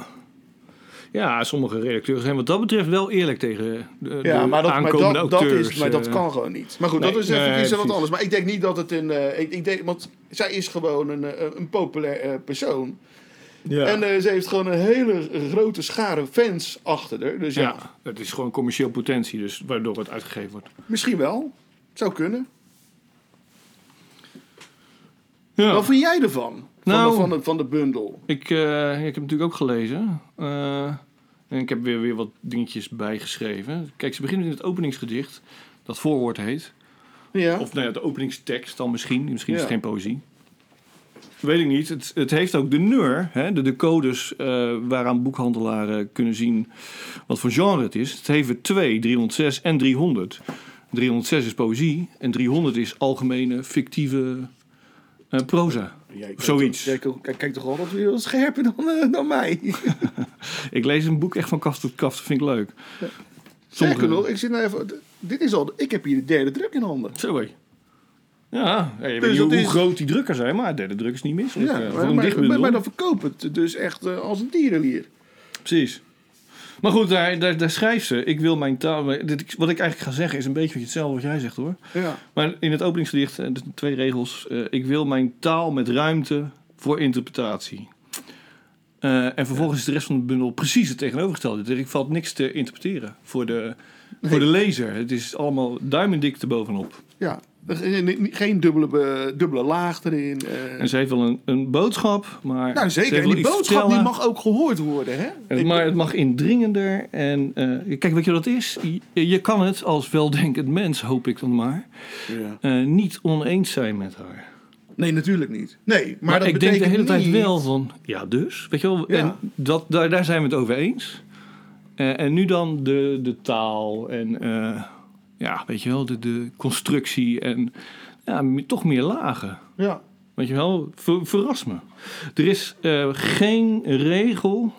Speaker 5: Ja, sommige redacteurs zijn wat dat betreft wel eerlijk tegen eh, de,
Speaker 6: Ja,
Speaker 5: de
Speaker 6: maar dat, maar
Speaker 5: aankomende
Speaker 6: dat, dat
Speaker 5: auteurs.
Speaker 6: is, maar dat
Speaker 5: eh.
Speaker 6: kan gewoon niet. Maar goed,
Speaker 5: nee,
Speaker 6: dat is
Speaker 5: nee,
Speaker 6: even iets wat
Speaker 5: precies.
Speaker 6: anders. Maar ik denk niet dat het een... eh, ik, ik denk, want zij is gewoon een, eh, een populair eh, persoon.
Speaker 5: Ja.
Speaker 6: En eh, ze heeft gewoon een hele grote schare fans achter haar. Dus
Speaker 5: ja.
Speaker 6: ja.
Speaker 5: het is gewoon commercieel potentie, dus waardoor het uitgegeven wordt.
Speaker 6: Misschien wel. Zou kunnen.
Speaker 5: Ja,
Speaker 6: Wat vind jij ervan? Van,
Speaker 5: Nou.
Speaker 6: de, van, de, van de bundel.
Speaker 5: ik, eh, ik heb natuurlijk ook gelezen. eh, en ik heb weer, weer wat dingetjes bijgeschreven. Kijk, ze beginnen in het openingsgedicht, dat voorwoord heet.
Speaker 6: Ja.
Speaker 5: Of nou ja, de openingstekst dan misschien. Misschien is het
Speaker 6: Ja.
Speaker 5: geen poëzie. Weet ik niet. Het, het heeft ook de neur, hè? De, de codes eh, waaraan boekhandelaren kunnen zien wat voor genre het is. Het heeft er 2, 306 en 300. 306 is poëzie en 300 is algemene fictieve eh, proza.
Speaker 6: Jij kijkt
Speaker 5: zoiets.
Speaker 6: toch- jij kijkt- kijkt toch altijd weer wat scherper dan, eh, dan mij.
Speaker 5: Ik lees een boek echt van kast tot kast, dat vind ik leuk.
Speaker 6: Zeker nog, ik zit nou even... Dit is al... Ik heb hier de derde druk in handen.
Speaker 5: Zo hé. Ja, hey, weet
Speaker 6: Dus
Speaker 5: je
Speaker 6: dat
Speaker 5: hoe
Speaker 6: is-
Speaker 5: groot die drukker zijn, maar de druk is niet misselijk.
Speaker 6: Ja,
Speaker 5: eh, voor
Speaker 6: maar,
Speaker 5: een
Speaker 6: maar,
Speaker 5: dichtbundel.
Speaker 6: maar, maar dan verkoopt het dus echt eh, als een tierenlier.
Speaker 5: Precies. Maar goed, daar, daar, daar schrijft ze. Ik wil mijn taal. maar dit- Wat ik eigenlijk ga zeggen is een beetje hetzelfde wat jij zegt hoor.
Speaker 6: Ja.
Speaker 5: Maar in het openingsgedicht, eh, de twee regels. eh, ik wil mijn taal met ruimte voor interpretatie. Eh, en vervolgens is de rest van de bundel precies het tegenovergestelde. Er valt niks te interpreteren voor de, voor de lezer. Het is allemaal duimendik te bovenop.
Speaker 6: ja. Geen, geen dubbele, eh, dubbele laag erin. eh.
Speaker 5: En ze heeft wel een, een boodschap, maar.
Speaker 6: nou,
Speaker 5: ze heeft
Speaker 6: zeker. En
Speaker 5: wel
Speaker 6: die
Speaker 5: iets te
Speaker 6: boodschap die
Speaker 5: vertellen.
Speaker 6: mag ook gehoord worden, hè?
Speaker 5: Het,
Speaker 6: Ik-
Speaker 5: maar het mag indringender. En eh, kijk, weet je wat het is? Je, je kan het als weldenkend mens, hoop ik dan maar,
Speaker 6: Ja.
Speaker 5: eh, niet oneens zijn met haar.
Speaker 6: Nee, natuurlijk niet. Nee, maar,
Speaker 5: Maar,
Speaker 6: dat
Speaker 5: ik denk de hele
Speaker 6: betekent
Speaker 5: tijd
Speaker 6: niet-
Speaker 5: wel van, ja dus, weet je wel.
Speaker 6: Ja.
Speaker 5: En dat, daar, daar zijn we het over eens. Eh, en nu dan de, de taal en eh, ja, weet je wel, de, de constructie en ja, m- toch meer lagen.
Speaker 6: Ja.
Speaker 5: Weet je wel, ver- verras me. Er is eh, geen regel.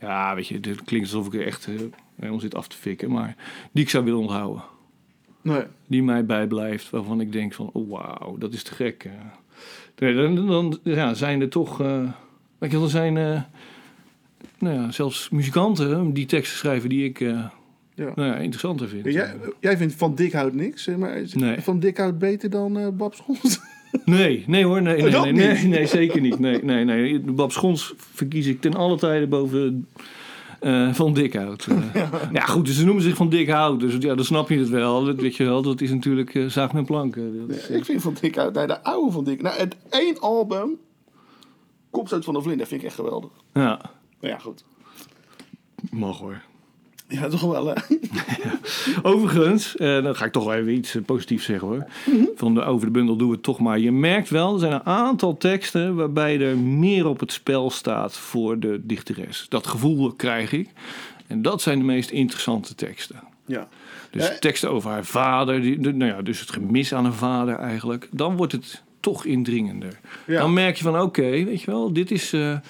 Speaker 5: Ja, weet je, dit klinkt alsof ik er echt eh, helemaal zit af te fikken. Maar die ik zou willen onthouden.
Speaker 6: Nee.
Speaker 5: Die mij bijblijft. Waarvan ik denk van, oh wauw, dat is te gek. eh. Nee, dan dan ja, zijn er toch... eh, weet je wel, er zijn... eh, nou ja, zelfs muzikanten die teksten schrijven die ik eh,
Speaker 6: Ja.
Speaker 5: nou ja, interessanter vind.
Speaker 6: Ja, Jij, jij vindt Van Dijk houdt niks, hè, maar is
Speaker 5: Nee.
Speaker 6: Van Dijk houdt beter dan eh Bab Schons.
Speaker 5: Nee, nee hoor. Nee, nee,
Speaker 6: Dat
Speaker 5: nee,
Speaker 6: niet?
Speaker 5: nee, nee, zeker Oh, niet. Nee, nee, nee. De Bab Schons verkies ik ten alle tijden boven eh, Van Dikhout. Eh, ja. goed, dus ze noemen zich Van Dikhout. Dus ja, dan snap je het wel. Dat, weet je wel, dat is natuurlijk eh, zaag mijn planken. Dat is, eh,
Speaker 6: Ik vind Van Dik uit. Nee, de oude Van Dik. Nou, het één album. Komt uit van de Vlinder. Vind ik echt geweldig.
Speaker 5: ja,
Speaker 6: Nou ja, goed.
Speaker 5: mag hoor.
Speaker 6: Ja, toch wel. hè?
Speaker 5: Overigens, eh, dan ga ik toch wel even iets eh, positiefs zeggen hoor. Van de over de bundel doe het toch maar. Je merkt wel, er zijn een aantal teksten waarbij er meer op het spel staat voor de dichteres. Dat gevoel krijg ik. En dat zijn de meest interessante teksten.
Speaker 6: Ja.
Speaker 5: Dus
Speaker 6: Ja.
Speaker 5: teksten over haar vader, die, de- nou ja, dus het gemis aan haar vader eigenlijk. Dan wordt het toch indringender.
Speaker 6: Ja.
Speaker 5: Dan merk je van oké, weet je wel, dit is eh, eh,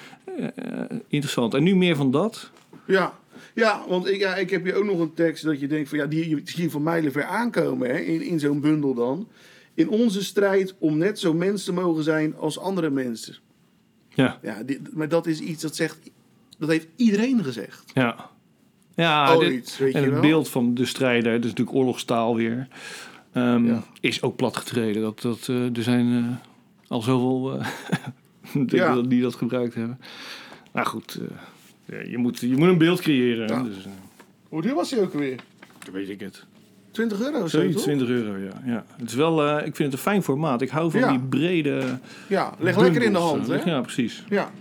Speaker 5: interessant. En nu meer van dat.
Speaker 6: Ja. Ja, want ik, ja, ik heb hier ook nog een tekst dat je denkt van ja, die die zie je van mijlenver aankomen hè, in, in zo'n bundel dan. In onze strijd om net zo mens te mogen zijn als andere mensen.
Speaker 5: Ja,
Speaker 6: Ja, dit, maar dat is iets dat zegt, dat heeft iedereen gezegd.
Speaker 5: ja. Ja,
Speaker 6: Ooit,
Speaker 5: dit-
Speaker 6: weet
Speaker 5: en
Speaker 6: je
Speaker 5: het
Speaker 6: wel.
Speaker 5: beeld van de strijder, dat is natuurlijk oorlogstaal weer, ehm,
Speaker 6: Ja.
Speaker 5: is ook platgetreden. Dat, dat, eh, er zijn eh, al zoveel eh,
Speaker 6: Ja.
Speaker 5: die, die dat gebruikt hebben. Nou goed, eh, ja, je, moet, je moet een beeld creëren. hè,
Speaker 6: Ja.
Speaker 5: Dus, eh,
Speaker 6: Hoe duur was hij ook weer?
Speaker 5: weet ik het.
Speaker 6: 20 euro of zo,
Speaker 5: Zoiets,
Speaker 6: toch?
Speaker 5: 20 euro, ja. ja. Het is wel, eh, ik vind het een fijn formaat. Ik hou van
Speaker 6: Ja.
Speaker 5: die brede...
Speaker 6: Ja, leg lekker in de
Speaker 5: bundels,
Speaker 6: hand,
Speaker 5: eh,
Speaker 6: hè?
Speaker 5: Ja, precies.
Speaker 6: Ja.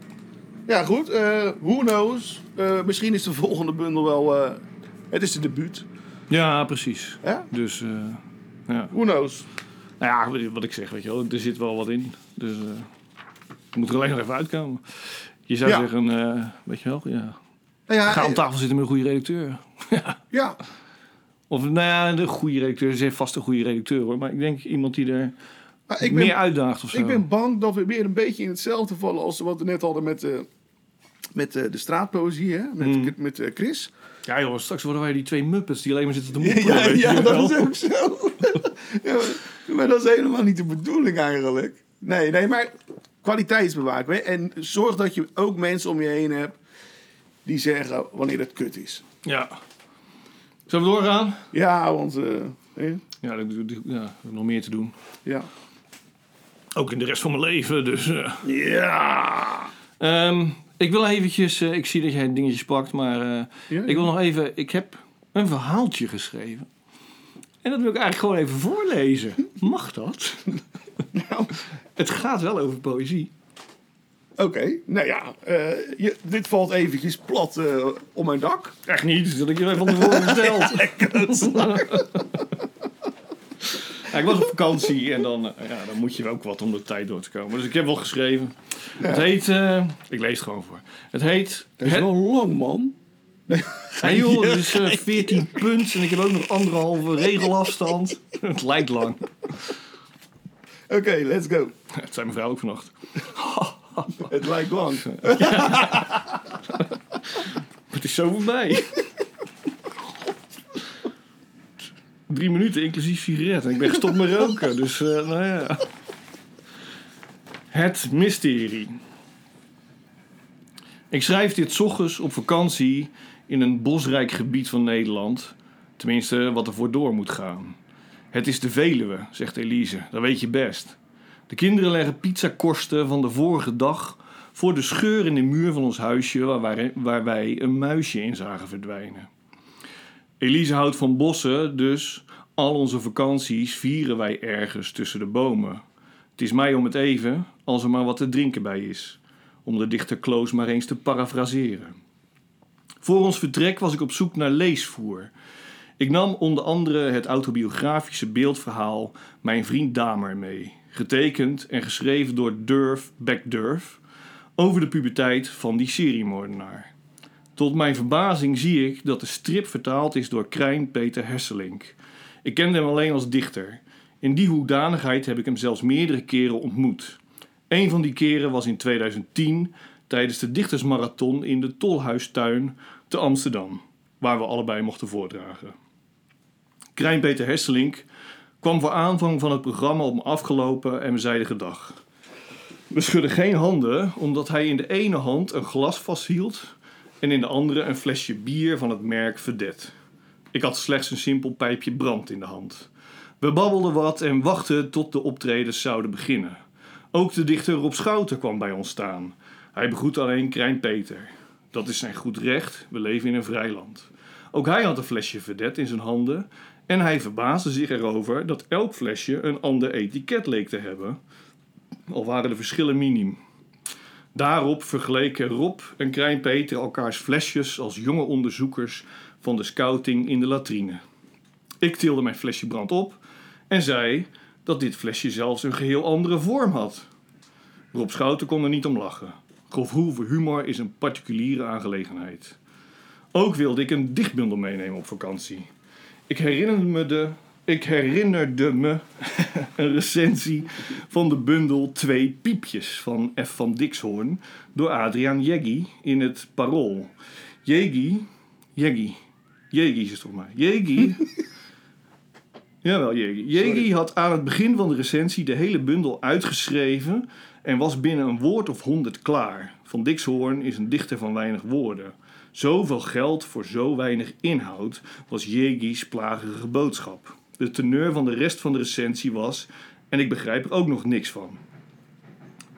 Speaker 6: Ja, goed. eh who knows? Eh, misschien is de volgende bundel wel... eh, het is de debuut.
Speaker 5: Ja, precies.
Speaker 6: Hè?
Speaker 5: Dus, eh, ja.
Speaker 6: Who knows?
Speaker 5: Nou ja, wat ik zeg, weet je wel, er zit wel wat in. Dus, eh het moet er alleen nog even uitkomen. Je zou
Speaker 6: Ja.
Speaker 5: zeggen, eh, weet je wel, ja.
Speaker 6: Nou ja,
Speaker 5: Ga aan
Speaker 6: eh,
Speaker 5: tafel zitten met een goede redacteur.
Speaker 6: Ja,
Speaker 5: Of, nou ja, de goede redacteur. Ze heeft vast een goede redacteur, hoor. Maar ik denk iemand die er
Speaker 6: maar ik
Speaker 5: meer
Speaker 6: ben,
Speaker 5: uitdaagt of zo.
Speaker 6: ik ben bang dat we weer een beetje in hetzelfde vallen als wat we net hadden met, eh, met eh, de straatpoëzie, hè? Met, met eh, Chris.
Speaker 5: Ja, joh, straks worden wij die twee muppets die alleen maar zitten te mopperen.
Speaker 6: ja,
Speaker 5: weet je
Speaker 6: ja,
Speaker 5: wel.
Speaker 6: dat is ook zo. ja, maar- maar dat is helemaal niet de bedoeling eigenlijk. Nee, nee, maar kwaliteitsbewaken. hè. En zorg dat je ook mensen om je heen hebt die zeggen wanneer het kut is.
Speaker 5: Ja. Zullen we doorgaan?
Speaker 6: Ja, want... eh, hè?
Speaker 5: Ja, dat, dat- ja, ik heb nog meer te doen.
Speaker 6: ja.
Speaker 5: Ook in de rest van mijn leven, dus... eh.
Speaker 6: Ja.
Speaker 5: Ehm, ik wil eventjes... eh, ik zie dat jij dingetjes pakt, maar... eh,
Speaker 6: Ja,
Speaker 5: Ik wil nog even... Ik heb een verhaaltje geschreven. En dat wil ik eigenlijk gewoon even voorlezen. Mag dat?
Speaker 6: Nou,
Speaker 5: Hm? Het gaat wel over poëzie.
Speaker 6: Oké, nou ja, eh, je, dit valt eventjes plat eh, om mijn dak.
Speaker 5: Echt niet, dus dat ik je van tevoren verteld. Ja, ik was op vakantie en dan, eh, ja, dan moet je ook wat om de tijd door te komen. Dus ik heb wel geschreven. Het heet... eh, ik lees het gewoon voor. Het heet...
Speaker 6: Dat is
Speaker 5: Het-
Speaker 6: wel lang, man.
Speaker 5: Hé joh, het is eh, 14 punten en ik heb ook nog anderhalve regelafstand. het lijkt lang.
Speaker 6: Oké, let's go.
Speaker 5: Het zijn mijn vrouw ook vannacht.
Speaker 6: Het lijkt lang.
Speaker 5: Het is zo voorbij. Drie minuten inclusief sigaret. En ik ben gestopt met roken. Dus, eh, nou ja. Het mysterie. Ik schrijf dit 's ochtends op vakantie in een bosrijk gebied van Nederland. Tenminste, wat er voor door moet gaan. Het is de Veluwe, zegt Elise. Dat weet je best. De kinderen leggen pizzakorsten van de vorige dag voor de scheur in de muur van ons huisje waar wij, waar wij een muisje in zagen verdwijnen. Elise houdt van bossen, dus al onze vakanties vieren wij ergens tussen de bomen. Het is mij om het even, als er maar wat te drinken bij is, om de dichter Kloos maar eens te parafraseren. Voor ons vertrek was ik op zoek naar leesvoer. Ik nam onder andere het autobiografische beeldverhaal Mijn vriend Damer mee, getekend en geschreven door Durf Beck Durf over de puberteit van die seriemoordenaar. Tot mijn verbazing zie ik dat de strip vertaald is door Krijn Peter Hesselink. Ik kende hem alleen als dichter. In die hoedanigheid heb ik hem zelfs meerdere keren ontmoet. Een van die keren was in 2010 tijdens de dichtersmarathon in de Tolhuistuin te Amsterdam, waar we allebei mochten voordragen. Krijn Peter Hesselink kwam voor aanvang van het programma op me afgelopen en we zeiden gedag. We schudden geen handen, omdat hij in de ene hand een glas vasthield en in de andere een flesje bier van het merk Verdet. Ik had slechts een simpel pijpje brand in de hand. We babbelden wat en wachtten tot de optredens zouden beginnen. Ook de dichter Rob Schouten kwam bij ons staan. Hij begroet alleen Krijn Peter. Dat is zijn goed recht, we leven in een vrij land. Ook hij had een flesje verdet in zijn handen en hij verbaasde zich erover dat elk flesje een ander etiket leek te hebben, al waren de verschillen minim. Daarop vergeleken Rob en Krijn Peter elkaars flesjes als jonge onderzoekers van de scouting in de latrine. Ik tilde mijn flesje brand op en zei dat dit flesje zelfs een geheel andere vorm had. Rob Schouten kon er niet om lachen. Gevoel voor humor is een particuliere aangelegenheid. Ook wilde ik een dichtbundel meenemen op vakantie. Ik herinnerde me, de, ik herinnerde me een recensie van de bundel Twee Piepjes van F. van Dixhoorn door Adriaan Jeggi in het Parool. Jeggi, Jeggi, Jeggi is het volgens mij. Jeggi Jawel, Jegi. Jegi had aan het begin van de recensie de hele bundel uitgeschreven en was binnen een woord of honderd klaar. Van Dixhoorn is een dichter van weinig woorden. Zoveel geld voor zo weinig inhoud was Jegi's plagerige boodschap. De teneur van de rest van de recensie was, en ik begrijp er ook nog niks van.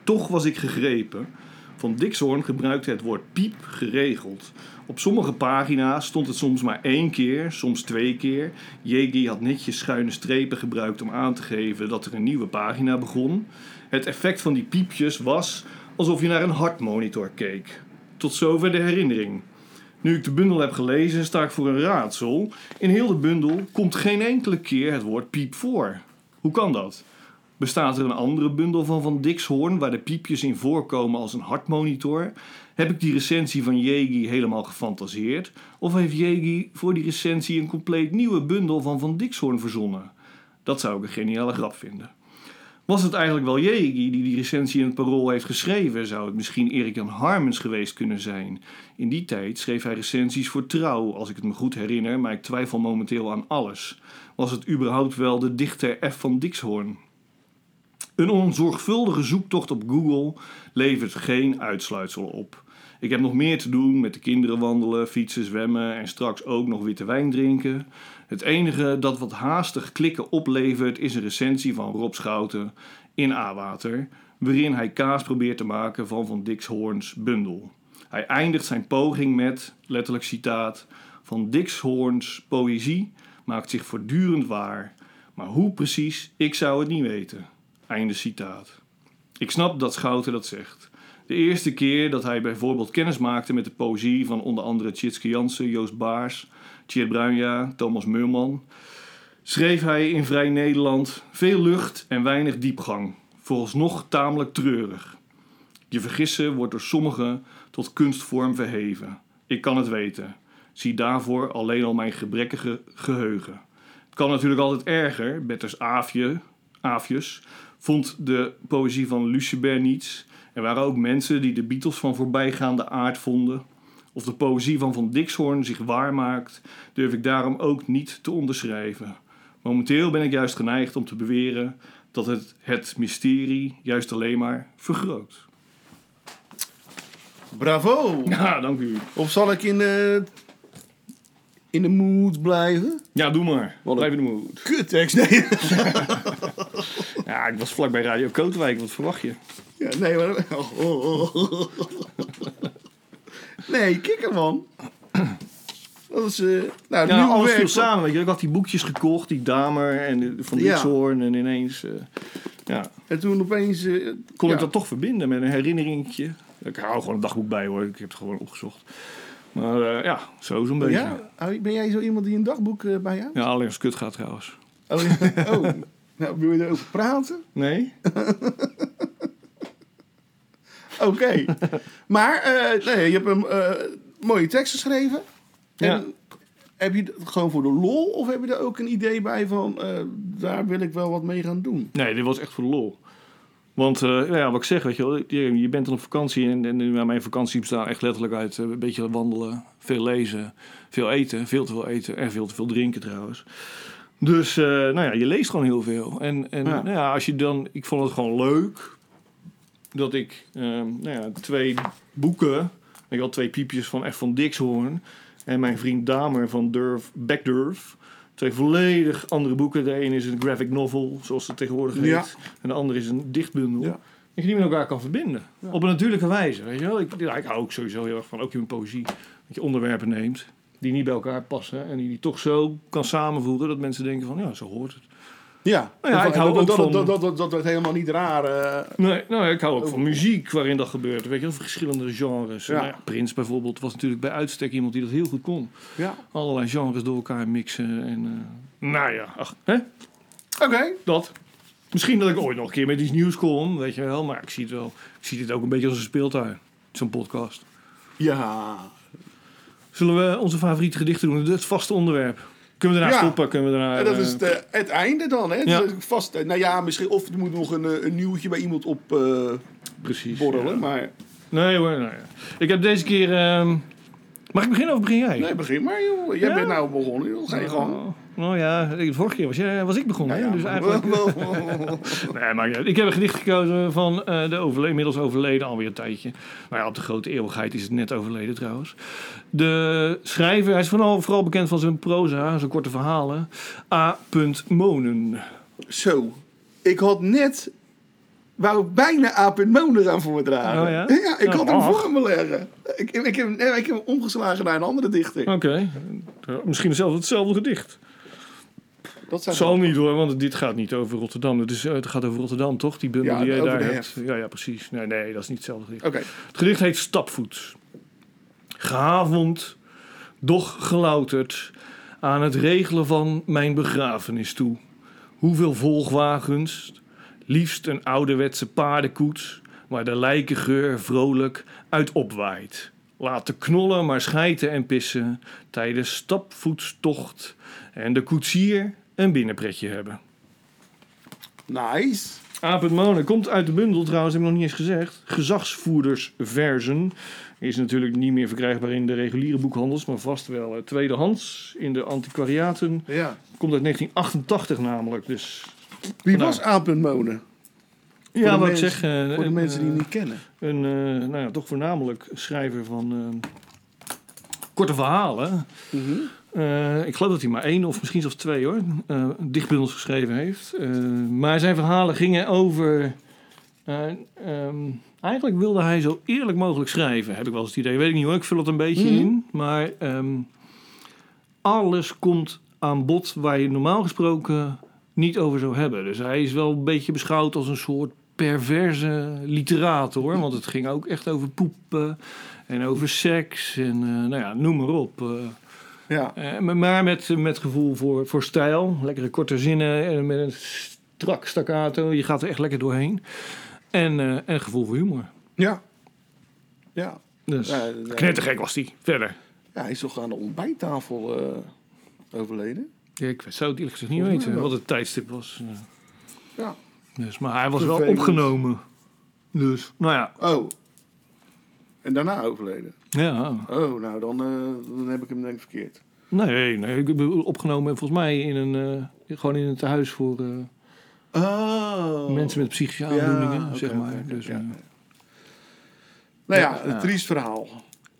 Speaker 5: Toch was ik gegrepen. Van Dixhoorn gebruikte het woord piep geregeld. Op sommige pagina's stond het soms maar één keer, soms twee keer. Jegi had netjes schuine strepen gebruikt om aan te geven dat er een nieuwe pagina begon. Het effect van die piepjes was alsof je naar een hartmonitor keek. Tot zover de herinnering. Nu ik de bundel heb gelezen, sta ik voor een raadsel. In heel de bundel komt geen enkele keer het woord piep voor. Hoe kan dat? Bestaat er een andere bundel van Van Dixhoorn waar de piepjes in voorkomen als een hartmonitor? Heb ik die recensie van Jegi helemaal gefantaseerd? Of heeft Jegi voor die recensie een compleet nieuwe bundel van Van Dixhoorn verzonnen? Dat zou ik een geniale grap vinden. Was het eigenlijk wel Jegi die die recensie in het Parool heeft geschreven? Zou het misschien Erik-Jan Harmens geweest kunnen zijn? In die tijd schreef hij recensies voor Trouw, als ik het me goed herinner, maar ik twijfel momenteel aan alles. Was het überhaupt wel de dichter F. van Dixhoorn? Een onzorgvuldige zoektocht op Google levert geen uitsluitsel op. Ik heb nog meer te doen met de kinderen wandelen, fietsen, zwemmen en straks ook nog witte wijn drinken. Het enige dat wat haastig klikken oplevert is een recensie van Rob Schouten in A-Water, waarin hij kaas probeert te maken van Van Dixhoorns bundel. Hij eindigt zijn poging met, letterlijk citaat, Van Dixhoorns poëzie maakt zich voortdurend waar, maar hoe precies, ik zou het niet weten. Einde citaat. Ik snap dat Schouten dat zegt. De eerste keer dat hij bijvoorbeeld kennis maakte met de poëzie van onder andere Tjitske Jansen, Joost Baars, Tjeerd Bruinja, Thomas Meulman, schreef hij in Vrij Nederland veel lucht en weinig diepgang, vooralsnog tamelijk treurig. Je vergissen wordt door sommigen tot kunstvorm verheven. Ik kan het weten. Zie daarvoor alleen al mijn gebrekkige geheugen. Het kan natuurlijk altijd erger. Betters Aafje, Aafjes vond de poëzie van Lucebert niets. Er waren ook mensen die de Beatles van voorbijgaande aard vonden. Of de poëzie van Van Dixhoorn zich waarmaakt, durf ik daarom ook niet te onderschrijven. Momenteel ben ik juist geneigd om te beweren dat het het mysterie juist alleen maar vergroot.
Speaker 6: Bravo!
Speaker 5: Ja, dank u.
Speaker 6: Of zal ik in de, in de mood blijven?
Speaker 5: Ja, doe maar.
Speaker 6: Wat
Speaker 5: Blijf in de mood.
Speaker 6: Kut, tekst. Nee,
Speaker 5: Ja, ik was vlak bij Radio Kootwijk. Wat verwacht je?
Speaker 6: ja, nee maar... oh, oh, oh. Nee, kikker, man. Dat is... eh nou,
Speaker 5: Ja,
Speaker 6: nieuw
Speaker 5: alles
Speaker 6: werk.
Speaker 5: viel samen. Weet je. Ik had die boekjes gekocht, die Damer en de- van
Speaker 6: Ja.
Speaker 5: Dixhoorn. En ineens eh, ja,
Speaker 6: En toen opeens... eh,
Speaker 5: kon ik
Speaker 6: ja.
Speaker 5: dat toch verbinden met een herinnering. Ik hou gewoon een dagboek bij hoor. Ik heb het gewoon opgezocht. Maar eh, ja, zo zo'n beetje. Ja,
Speaker 6: Ja? Oh, Ben jij zo iemand die een dagboek eh, bij jou?
Speaker 5: alleen als het kut gaat trouwens.
Speaker 6: Oh, ja. oh. Nou, wil je erover praten?
Speaker 5: Nee?
Speaker 6: Oké. maar eh, nee, je hebt een eh, mooie tekst geschreven. En
Speaker 5: Ja.
Speaker 6: Heb je dat gewoon voor de lol of heb je er ook een idee bij van... eh, daar wil ik wel wat mee gaan doen?
Speaker 5: Nee, dit was echt voor de lol. Want eh, nou ja, wat ik zeg, weet je, wel, je, je bent dan op vakantie en, en ja, mijn vakantie bestaat echt letterlijk uit eh, een beetje wandelen, veel lezen, veel eten, veel te veel eten en veel te veel drinken trouwens. Dus eh, nou ja, je leest gewoon heel veel. En, en
Speaker 6: Ja.
Speaker 5: Nou ja, als je dan, ik vond het gewoon leuk dat ik eh, nou ja, twee boeken, ik had twee piepjes van F. van Dixhoorn en mijn vriend Damer van Durf, Backdurf. Twee volledig andere boeken. De een is een graphic novel, zoals het tegenwoordig heet.
Speaker 6: Ja.
Speaker 5: En de andere is een dichtbundel.
Speaker 6: Ja.
Speaker 5: Ja. Dat je die met elkaar kan verbinden. Op een natuurlijke wijze, weet je wel. Ik, ja, ik hou ook sowieso heel erg van, ook in mijn poëzie, dat je onderwerpen neemt die niet bij elkaar passen. En die, die toch zo kan samenvoegen dat mensen denken van, ja, zo hoort het.
Speaker 6: Ja,
Speaker 5: Nou ja, ik hou
Speaker 6: dat,
Speaker 5: ook
Speaker 6: dat,
Speaker 5: van-
Speaker 6: dat, dat, dat, dat werd helemaal niet raar. eh,
Speaker 5: Nee, nou, ja, ik hou ook van muziek waarin dat gebeurt. Weet je wel, verschillende genres.
Speaker 6: Ja.
Speaker 5: Nou ja, Prins bijvoorbeeld was natuurlijk bij uitstek iemand die dat heel goed kon.
Speaker 6: ja.
Speaker 5: Allerlei genres door elkaar mixen en... eh, nou ja, ach, hè?
Speaker 6: Oké.
Speaker 5: dat. Misschien dat ik ooit nog een keer met iets nieuws kom, weet je wel. Maar ik zie het wel. Ik zie dit ook een beetje als een speeltuin, zo'n podcast.
Speaker 6: Ja.
Speaker 5: Zullen we onze favoriete gedichten doen? Dat is het vaste onderwerp. Kunnen we daarna
Speaker 6: Ja.
Speaker 5: stoppen? Kunnen we daarna...
Speaker 6: En dat is
Speaker 5: eh,
Speaker 6: het, eh, het einde dan, hè?
Speaker 5: Ja.
Speaker 6: Dus Vast, eh, nou ja, misschien, of er moet nog een, eh, een nieuwtje bij iemand op eh,
Speaker 5: precies.
Speaker 6: borrelen,
Speaker 5: ja.
Speaker 6: maar...
Speaker 5: Nee hoor, nou ja. Ik heb deze keer... ehm, Mag ik beginnen of begin jij?
Speaker 6: Nee, begin maar, joh. Jij
Speaker 5: Ja.
Speaker 6: bent nou begonnen, joh. Ga je gang.
Speaker 5: Oh, nou ja, ik- de vorige keer was, jij, was ik begonnen.
Speaker 6: Nou
Speaker 5: hè?
Speaker 6: ja,
Speaker 5: dus
Speaker 6: maar-
Speaker 5: eigenlijk... Nee, maar ik heb een gedicht gekozen van eh, de overle inmiddels overleden alweer een tijdje. Nou ja, op de grote eeuwigheid is het net overleden trouwens. De schrijver, hij is vooral, vooral bekend van zijn proza, zijn korte verhalen. A. Monen.
Speaker 6: Zo, ik had net... Wou ik bijna Aap en Monen aan voordragen.
Speaker 5: Oh ja?
Speaker 6: ik
Speaker 5: Nou,
Speaker 6: had hem
Speaker 5: mag.
Speaker 6: voor me leggen. Ik, ik, heb, nee, ik heb hem omgeslagen naar een andere dichter.
Speaker 5: Oké, Eh, misschien zelfs hetzelfde gedicht.
Speaker 6: Dat zijn
Speaker 5: Zal niet hoor, want dit gaat niet over Rotterdam. Het, is, eh, het gaat over Rotterdam toch, die bundel
Speaker 6: Ja,
Speaker 5: die jij
Speaker 6: over
Speaker 5: daar
Speaker 6: de
Speaker 5: hebt.
Speaker 6: hef.
Speaker 5: Ja, ja, precies. Nee, nee, dat is niet hetzelfde gedicht.
Speaker 6: Oké.
Speaker 5: Het gedicht heet Stapvoets. Gehavond, doch gelouterd, aan het regelen van mijn begrafenis toe. Hoeveel volgwagens, liefst een ouderwetse paardenkoets, waar de lijkengeur vrolijk uit opwaait. Laten knollen, maar schijten en pissen tijdens stapvoetstocht en de koetsier een binnenpretje hebben.
Speaker 6: Nice.
Speaker 5: Apert Monen komt uit de bundel trouwens, heb ik nog niet eens gezegd. Gezagsvoerdersverzen. Is natuurlijk niet meer verkrijgbaar in de reguliere boekhandels, maar vast wel eh, tweedehands in de antiquariaten.
Speaker 6: Ja.
Speaker 5: Komt uit 1988 namelijk. Dus
Speaker 6: Wie
Speaker 5: Nou.
Speaker 6: was Aap en Monen?
Speaker 5: ja,
Speaker 6: de
Speaker 5: wat ik
Speaker 6: mensen-
Speaker 5: zeg. eh,
Speaker 6: Voor de
Speaker 5: een,
Speaker 6: mensen die
Speaker 5: eh,
Speaker 6: hem niet kennen.
Speaker 5: Een, eh, nou ja, toch voornamelijk schrijver van eh, korte verhalen. Eh, ik geloof dat hij maar één of misschien zelfs twee hoor, eh dichtbundels geschreven heeft. Eh, maar zijn verhalen gingen over. eh, ehm, eigenlijk wilde hij zo eerlijk mogelijk schrijven, heb ik wel eens het idee. Weet ik niet hoor, ik vul het een beetje in. Maar ehm, alles komt aan bod waar je normaal gesproken niet over zou hebben. Dus hij is wel een beetje beschouwd als een soort perverse literaat hoor. Want het ging ook echt over poepen en over seks en eh, nou ja, noem maar op. eh.
Speaker 6: Ja.
Speaker 5: Eh, maar- maar met, met gevoel voor, voor stijl. Lekkere korte zinnen en met een strak staccato. Je gaat er echt lekker doorheen. En, eh, en gevoel voor humor.
Speaker 6: Ja. Ja.
Speaker 5: Dus
Speaker 6: Ja, ja.
Speaker 5: knettergek was die. Verder.
Speaker 6: Ja, hij is toch aan de ontbijttafel eh, overleden?
Speaker 5: Ja, ik zou het eerlijk gezegd niet
Speaker 6: Volgens mij
Speaker 5: weten
Speaker 6: wel.
Speaker 5: wat het tijdstip was. Eh,
Speaker 6: Ja.
Speaker 5: Dus, maar hij was wel
Speaker 6: Vervelend.
Speaker 5: opgenomen. Dus, nou ja.
Speaker 6: Oh. En daarna overleden.
Speaker 5: ja.
Speaker 6: Oh, nou dan, eh, dan heb ik hem denk ik verkeerd.
Speaker 5: Nee, nee, ik bedoel, opgenomen volgens mij in een, eh, gewoon in een tehuis voor eh,
Speaker 6: Oh.
Speaker 5: mensen met psychische aandoeningen, zeg maar. dus,
Speaker 6: ja.
Speaker 5: eh,
Speaker 6: Nou
Speaker 5: Ja,
Speaker 6: ja,
Speaker 5: ja.
Speaker 6: een triest verhaal.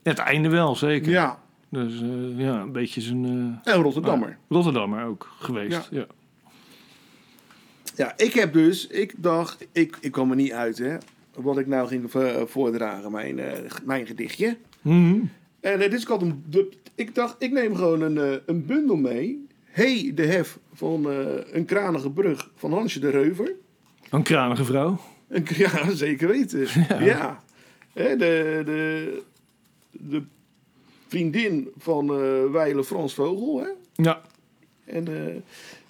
Speaker 5: Het einde wel, zeker.
Speaker 6: Ja.
Speaker 5: Dus eh, ja, een beetje zijn... eh,
Speaker 6: En Rotterdammer.
Speaker 5: Rotterdammer ook geweest. Ja.
Speaker 6: Ja, ik heb dus, ik dacht, ik, ik kwam er niet uit hè. Wat ik nou ging vo- voordragen, mijn, eh, g- mijn gedichtje.
Speaker 5: Mhm.
Speaker 6: En eh, dus ik had hem. de- Ik dacht, ik neem gewoon een, eh, een bundel mee. Hey, de hef van eh, een kranige brug van Hansje de Reuver.
Speaker 5: Een kranige vrouw.
Speaker 6: Een, k- ja, zeker weten. Ja. Hè, de, de, de vriendin van eh Weile Frans Vogel. Hè?
Speaker 5: Ja.
Speaker 6: En eh,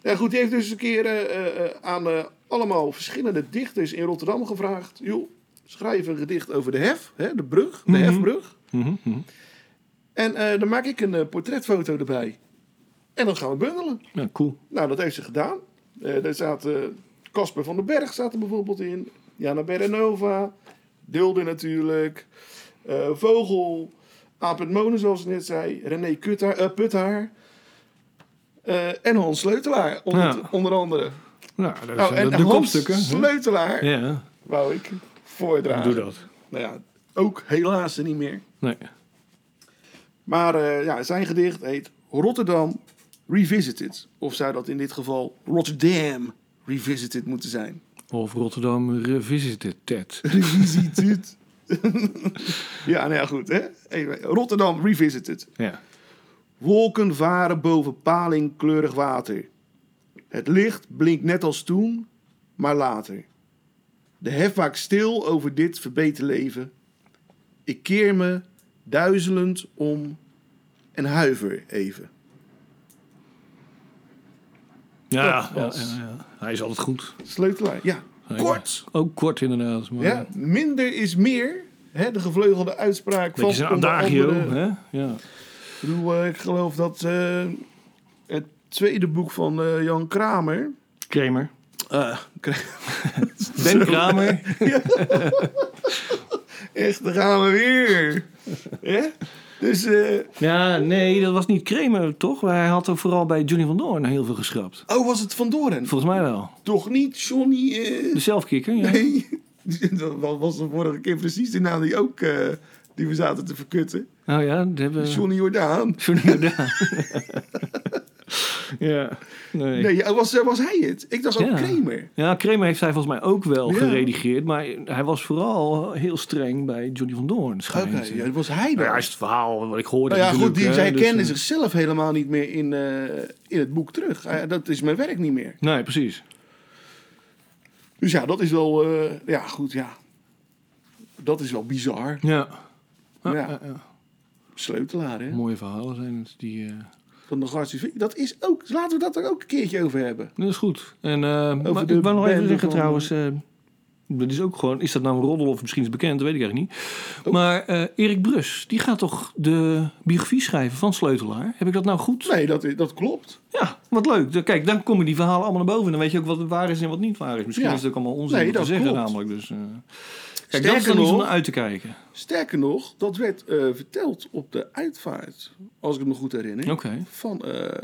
Speaker 6: ja, goed, die heeft dus een keer eh, eh, eh, aan eh, allemaal verschillende dichters in Rotterdam gevraagd. Joh, schrijf een gedicht over de hef, hè, de brug, de
Speaker 5: Mhm.
Speaker 6: hefbrug.
Speaker 5: Mhm, mhm.
Speaker 6: En eh, dan maak ik een eh, portretfoto erbij. En dan gaan we bundelen.
Speaker 5: ja, cool.
Speaker 6: Nou, dat heeft ze gedaan. Eh daar zaten Casper van den Berg zat er bijvoorbeeld in. Jana Berenova. Dulde natuurlijk. eh, Vogel. Aap Monen, zoals ik net zei. René Kuttaar, eh, Puthaar. Eh, en Hans Sleutelaar, onder,
Speaker 5: Ja.
Speaker 6: onder andere.
Speaker 5: Nou, dat
Speaker 6: Nou,
Speaker 5: zijn
Speaker 6: en
Speaker 5: de, de
Speaker 6: Hans
Speaker 5: kopstukken. hè?
Speaker 6: Sleutelaar
Speaker 5: Ja,
Speaker 6: wou ik voordragen.
Speaker 5: doe dat.
Speaker 6: Nou ja, ook helaas niet meer.
Speaker 5: Nee.
Speaker 6: Maar eh, ja, zijn gedicht heet Rotterdam Revisited. Of zou dat in dit geval Rotterdam Revisited moeten zijn?
Speaker 5: Of Rotterdam Revisited Ted.
Speaker 6: Revisited. ja, nou ja, goed. Hè? Anyway, Rotterdam Revisited.
Speaker 5: Ja.
Speaker 6: Wolken varen boven paling kleurig water. Het licht blinkt net als toen, maar later. De hefwaak stil over dit verbeten leven. Ik keer me duizelend om en huiver even.
Speaker 5: Ja, ja, ja,
Speaker 6: was-
Speaker 5: ja. hij is altijd goed.
Speaker 6: Sleutelaar, ja. Kort.
Speaker 5: Ook kort inderdaad. Maar eh,
Speaker 6: Ja, minder is meer. Hè, de gevleugelde uitspraak
Speaker 5: Beetje
Speaker 6: van
Speaker 5: zijn
Speaker 6: onder
Speaker 5: adagio.
Speaker 6: andere-
Speaker 5: Hè? Ja.
Speaker 6: Ik bedoel, eh, ik geloof dat eh, het tweede boek van eh, Jan Kramer...
Speaker 5: Kramer. Ah.
Speaker 6: eh, Kra-
Speaker 5: Ben Kramer.
Speaker 6: Echt, daar gaan we weer. Hè? Dus eh,
Speaker 5: Ja, nee, dat was niet Kramer, toch? Hij had er vooral bij Johnny van Doorn heel veel geschrapt.
Speaker 6: oh, was het Van Doren?
Speaker 5: Volgens mij wel.
Speaker 6: Toch niet Johnny... eh,
Speaker 5: De zelfkikker, ja.
Speaker 6: nee. Dat was de vorige keer precies de naam die ook... eh, die we zaten te verkutten.
Speaker 5: Oh ja, dat hebben...
Speaker 6: Johnny Jordaan.
Speaker 5: Johnny Jordaan. ja, nee.
Speaker 6: Nee, ja, was, was hij het? Ik dacht ook
Speaker 5: Ja.
Speaker 6: Kramer.
Speaker 5: Ja, Kramer heeft hij volgens mij ook wel
Speaker 6: Ja.
Speaker 5: geredigeerd. Maar hij was vooral heel streng bij Johnny van Doorn,
Speaker 6: Oké,
Speaker 5: schijnt.
Speaker 6: ja, dat was hij dan.
Speaker 5: Nou Ja, is het verhaal wat ik hoorde
Speaker 6: Nou ja, goed,
Speaker 5: natuurlijk,
Speaker 6: die,
Speaker 5: hè,
Speaker 6: zij
Speaker 5: dus,
Speaker 6: kennen
Speaker 5: eh,
Speaker 6: zichzelf helemaal niet meer in, eh, in het boek terug. Eh, dat is mijn werk niet meer.
Speaker 5: Nee, precies.
Speaker 6: Dus ja, dat is wel... eh, ja, goed, ja. Dat is wel bizar.
Speaker 5: Ja.
Speaker 6: Ja.
Speaker 5: ja, ja.
Speaker 6: Sleutelaar, hè?
Speaker 5: Mooie verhalen zijn het. Die, eh,
Speaker 6: Van de Gartie Dat is ook... Laten we dat er ook een keertje over hebben.
Speaker 5: Dat is goed. En eh, maar
Speaker 6: de
Speaker 5: ik wil nog even
Speaker 6: bende
Speaker 5: zeggen
Speaker 6: van-
Speaker 5: trouwens... eh, dat is ook gewoon... Is dat nou een roddel of misschien is het bekend? Dat weet ik eigenlijk niet.
Speaker 6: Oh.
Speaker 5: Maar eh, Erik Brus, die gaat toch de biografie schrijven van Sleutelaar? Heb ik dat nou goed?
Speaker 6: Nee, dat, dat klopt.
Speaker 5: Ja, wat leuk. Dan- Kijk, dan komen die verhalen allemaal naar boven. En dan weet je ook wat waar is en wat niet waar is. Misschien
Speaker 6: Ja.
Speaker 5: is het ook allemaal onzin
Speaker 6: Nee,
Speaker 5: om te
Speaker 6: dat
Speaker 5: zeggen
Speaker 6: klopt.
Speaker 5: namelijk. Dus, eh, kijk, dat is
Speaker 6: Sterker
Speaker 5: dan iets om
Speaker 6: nog,
Speaker 5: naar uit te kijken.
Speaker 6: sterker nog, dat werd eh, verteld op de uitvaart. Als ik het me goed herinner.
Speaker 5: Oké.
Speaker 6: Van, eh,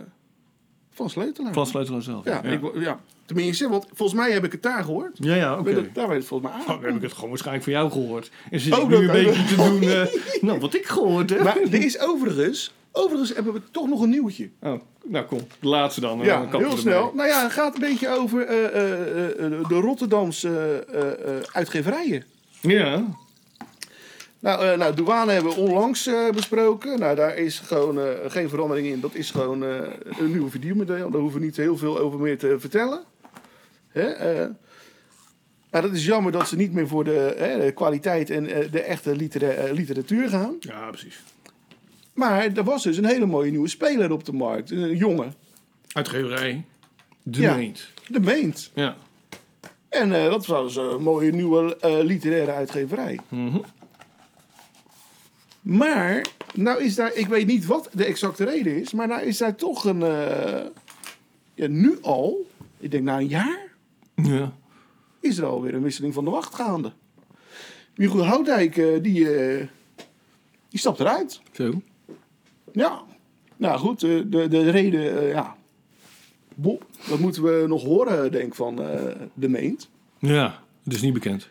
Speaker 6: van Sleutelaar.
Speaker 5: Van Sleutelaar zelf.
Speaker 6: ja,
Speaker 5: ja,
Speaker 6: Ik, wo- ja, tenminste, want volgens mij heb ik het daar gehoord.
Speaker 5: ja, ja, oké.
Speaker 6: Werd het- Daar werd het volgens mij aan.
Speaker 5: Nou, dan heb ik het gewoon waarschijnlijk van jou gehoord. En zit
Speaker 6: Oh,
Speaker 5: ik nu
Speaker 6: dat-
Speaker 5: een beetje te doen... eh, nou, wat ik gehoord heb.
Speaker 6: Maar er is overigens, overigens hebben we toch nog een nieuwtje.
Speaker 5: Oh, nou kom, de laatste dan. en dan
Speaker 6: Ja,
Speaker 5: kappen we
Speaker 6: heel
Speaker 5: ermee.
Speaker 6: snel. Nou ja, het gaat een beetje over eh, eh, eh, de Rotterdamse eh, eh, uitgeverijen.
Speaker 5: Ja,
Speaker 6: Nou, eh, nou, douane hebben we onlangs eh, besproken. Nou, daar is gewoon eh, geen verandering in. Dat is gewoon eh, een nieuw verdienmodel. Daar hoeven we niet heel veel over meer te vertellen. Hè? eh. maar dat is jammer dat ze niet meer voor de, hè, de kwaliteit en eh, de echte litera- eh, literatuur gaan.
Speaker 5: ja precies.
Speaker 6: Maar er was dus een hele mooie nieuwe speler op de markt. Een jongen,
Speaker 5: Uitgeverij. De
Speaker 6: Ja.
Speaker 5: Meent.
Speaker 6: de Meent.
Speaker 5: Ja.
Speaker 6: En eh, dat was een mooie nieuwe eh, literaire uitgeverij. Maar, nou is daar, ik weet niet wat de exacte reden is, maar nou is daar toch een, eh, ja, nu al, ik denk na een jaar,
Speaker 5: Ja.
Speaker 6: is er alweer een wisseling van de wacht gaande. Michiel Houtdijk, eh, die, eh, die stapt eruit.
Speaker 5: Zo.
Speaker 6: Ja, nou goed, eh, de, de reden, eh, ja. Bob, dat moeten we nog horen, denk ik, van eh, de meent.
Speaker 5: Ja, het is niet bekend.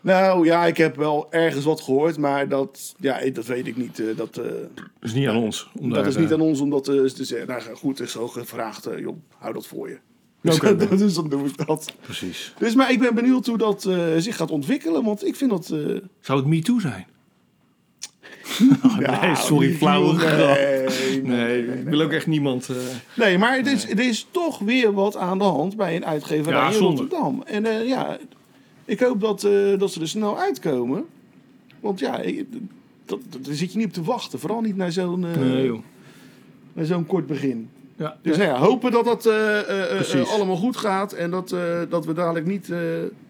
Speaker 6: Nou ja, ik heb wel ergens wat gehoord, maar dat, ja, dat weet ik niet. eh, dat eh,
Speaker 5: Het is niet aan ons. om
Speaker 6: dat
Speaker 5: daar,
Speaker 6: is niet
Speaker 5: eh,
Speaker 6: aan ons om dat eh, te zeggen. Nou goed, er is zo gevraagd, eh, joh, hou dat voor je.
Speaker 5: Oké.
Speaker 6: dus dan doe ik dat.
Speaker 5: Precies.
Speaker 6: Dus maar ik ben benieuwd hoe dat eh, zich gaat ontwikkelen, want ik vind dat... eh,
Speaker 5: Zou het Me Too zijn?
Speaker 6: ja,
Speaker 5: nee, sorry, flauwe
Speaker 6: nou, nee,
Speaker 5: grap.
Speaker 6: Nee, nee.
Speaker 5: ik wil ook echt niemand... eh,
Speaker 6: Nee, maar het is, er is toch weer wat aan de hand bij een uitgeverij
Speaker 5: Ja,
Speaker 6: in
Speaker 5: zonde.
Speaker 6: Rotterdam. En eh, ja, ik hoop dat, eh, dat ze er snel uitkomen. Want ja, ik- dat, dat, daar zit je niet op te wachten. Vooral niet naar zo'n... eh,
Speaker 5: nee, joh.
Speaker 6: Bij zo'n kort begin.
Speaker 5: Ja.
Speaker 6: Dus nou ja, hopen dat dat eh, eh, eh,
Speaker 5: Precies.
Speaker 6: eh, allemaal goed gaat. En dat, eh, dat we dadelijk niet... eh,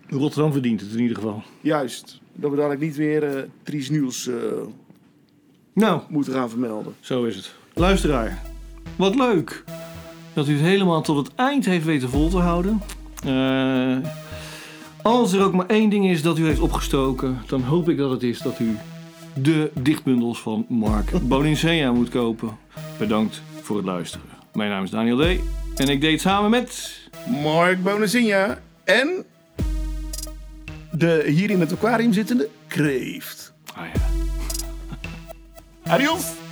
Speaker 5: Rotterdam verdient het in ieder geval.
Speaker 6: juist, dat we dadelijk niet weer eh triest nieuws eh,
Speaker 5: Nou,
Speaker 6: moeten gaan vermelden.
Speaker 5: Zo is het. Luisteraar, wat leuk dat u het helemaal tot het eind heeft weten vol te houden. Eh, als er ook maar één ding is dat u heeft opgestoken, dan hoop ik dat het is dat u de dichtbundels van Mark Boninsea moet kopen. Bedankt voor het luisteren. Mijn naam is Daniel D. En ik deed samen met.
Speaker 6: Mark Bonazinha en... De hier in het aquarium zittende kreeft.
Speaker 5: Ah ja.
Speaker 6: Adios!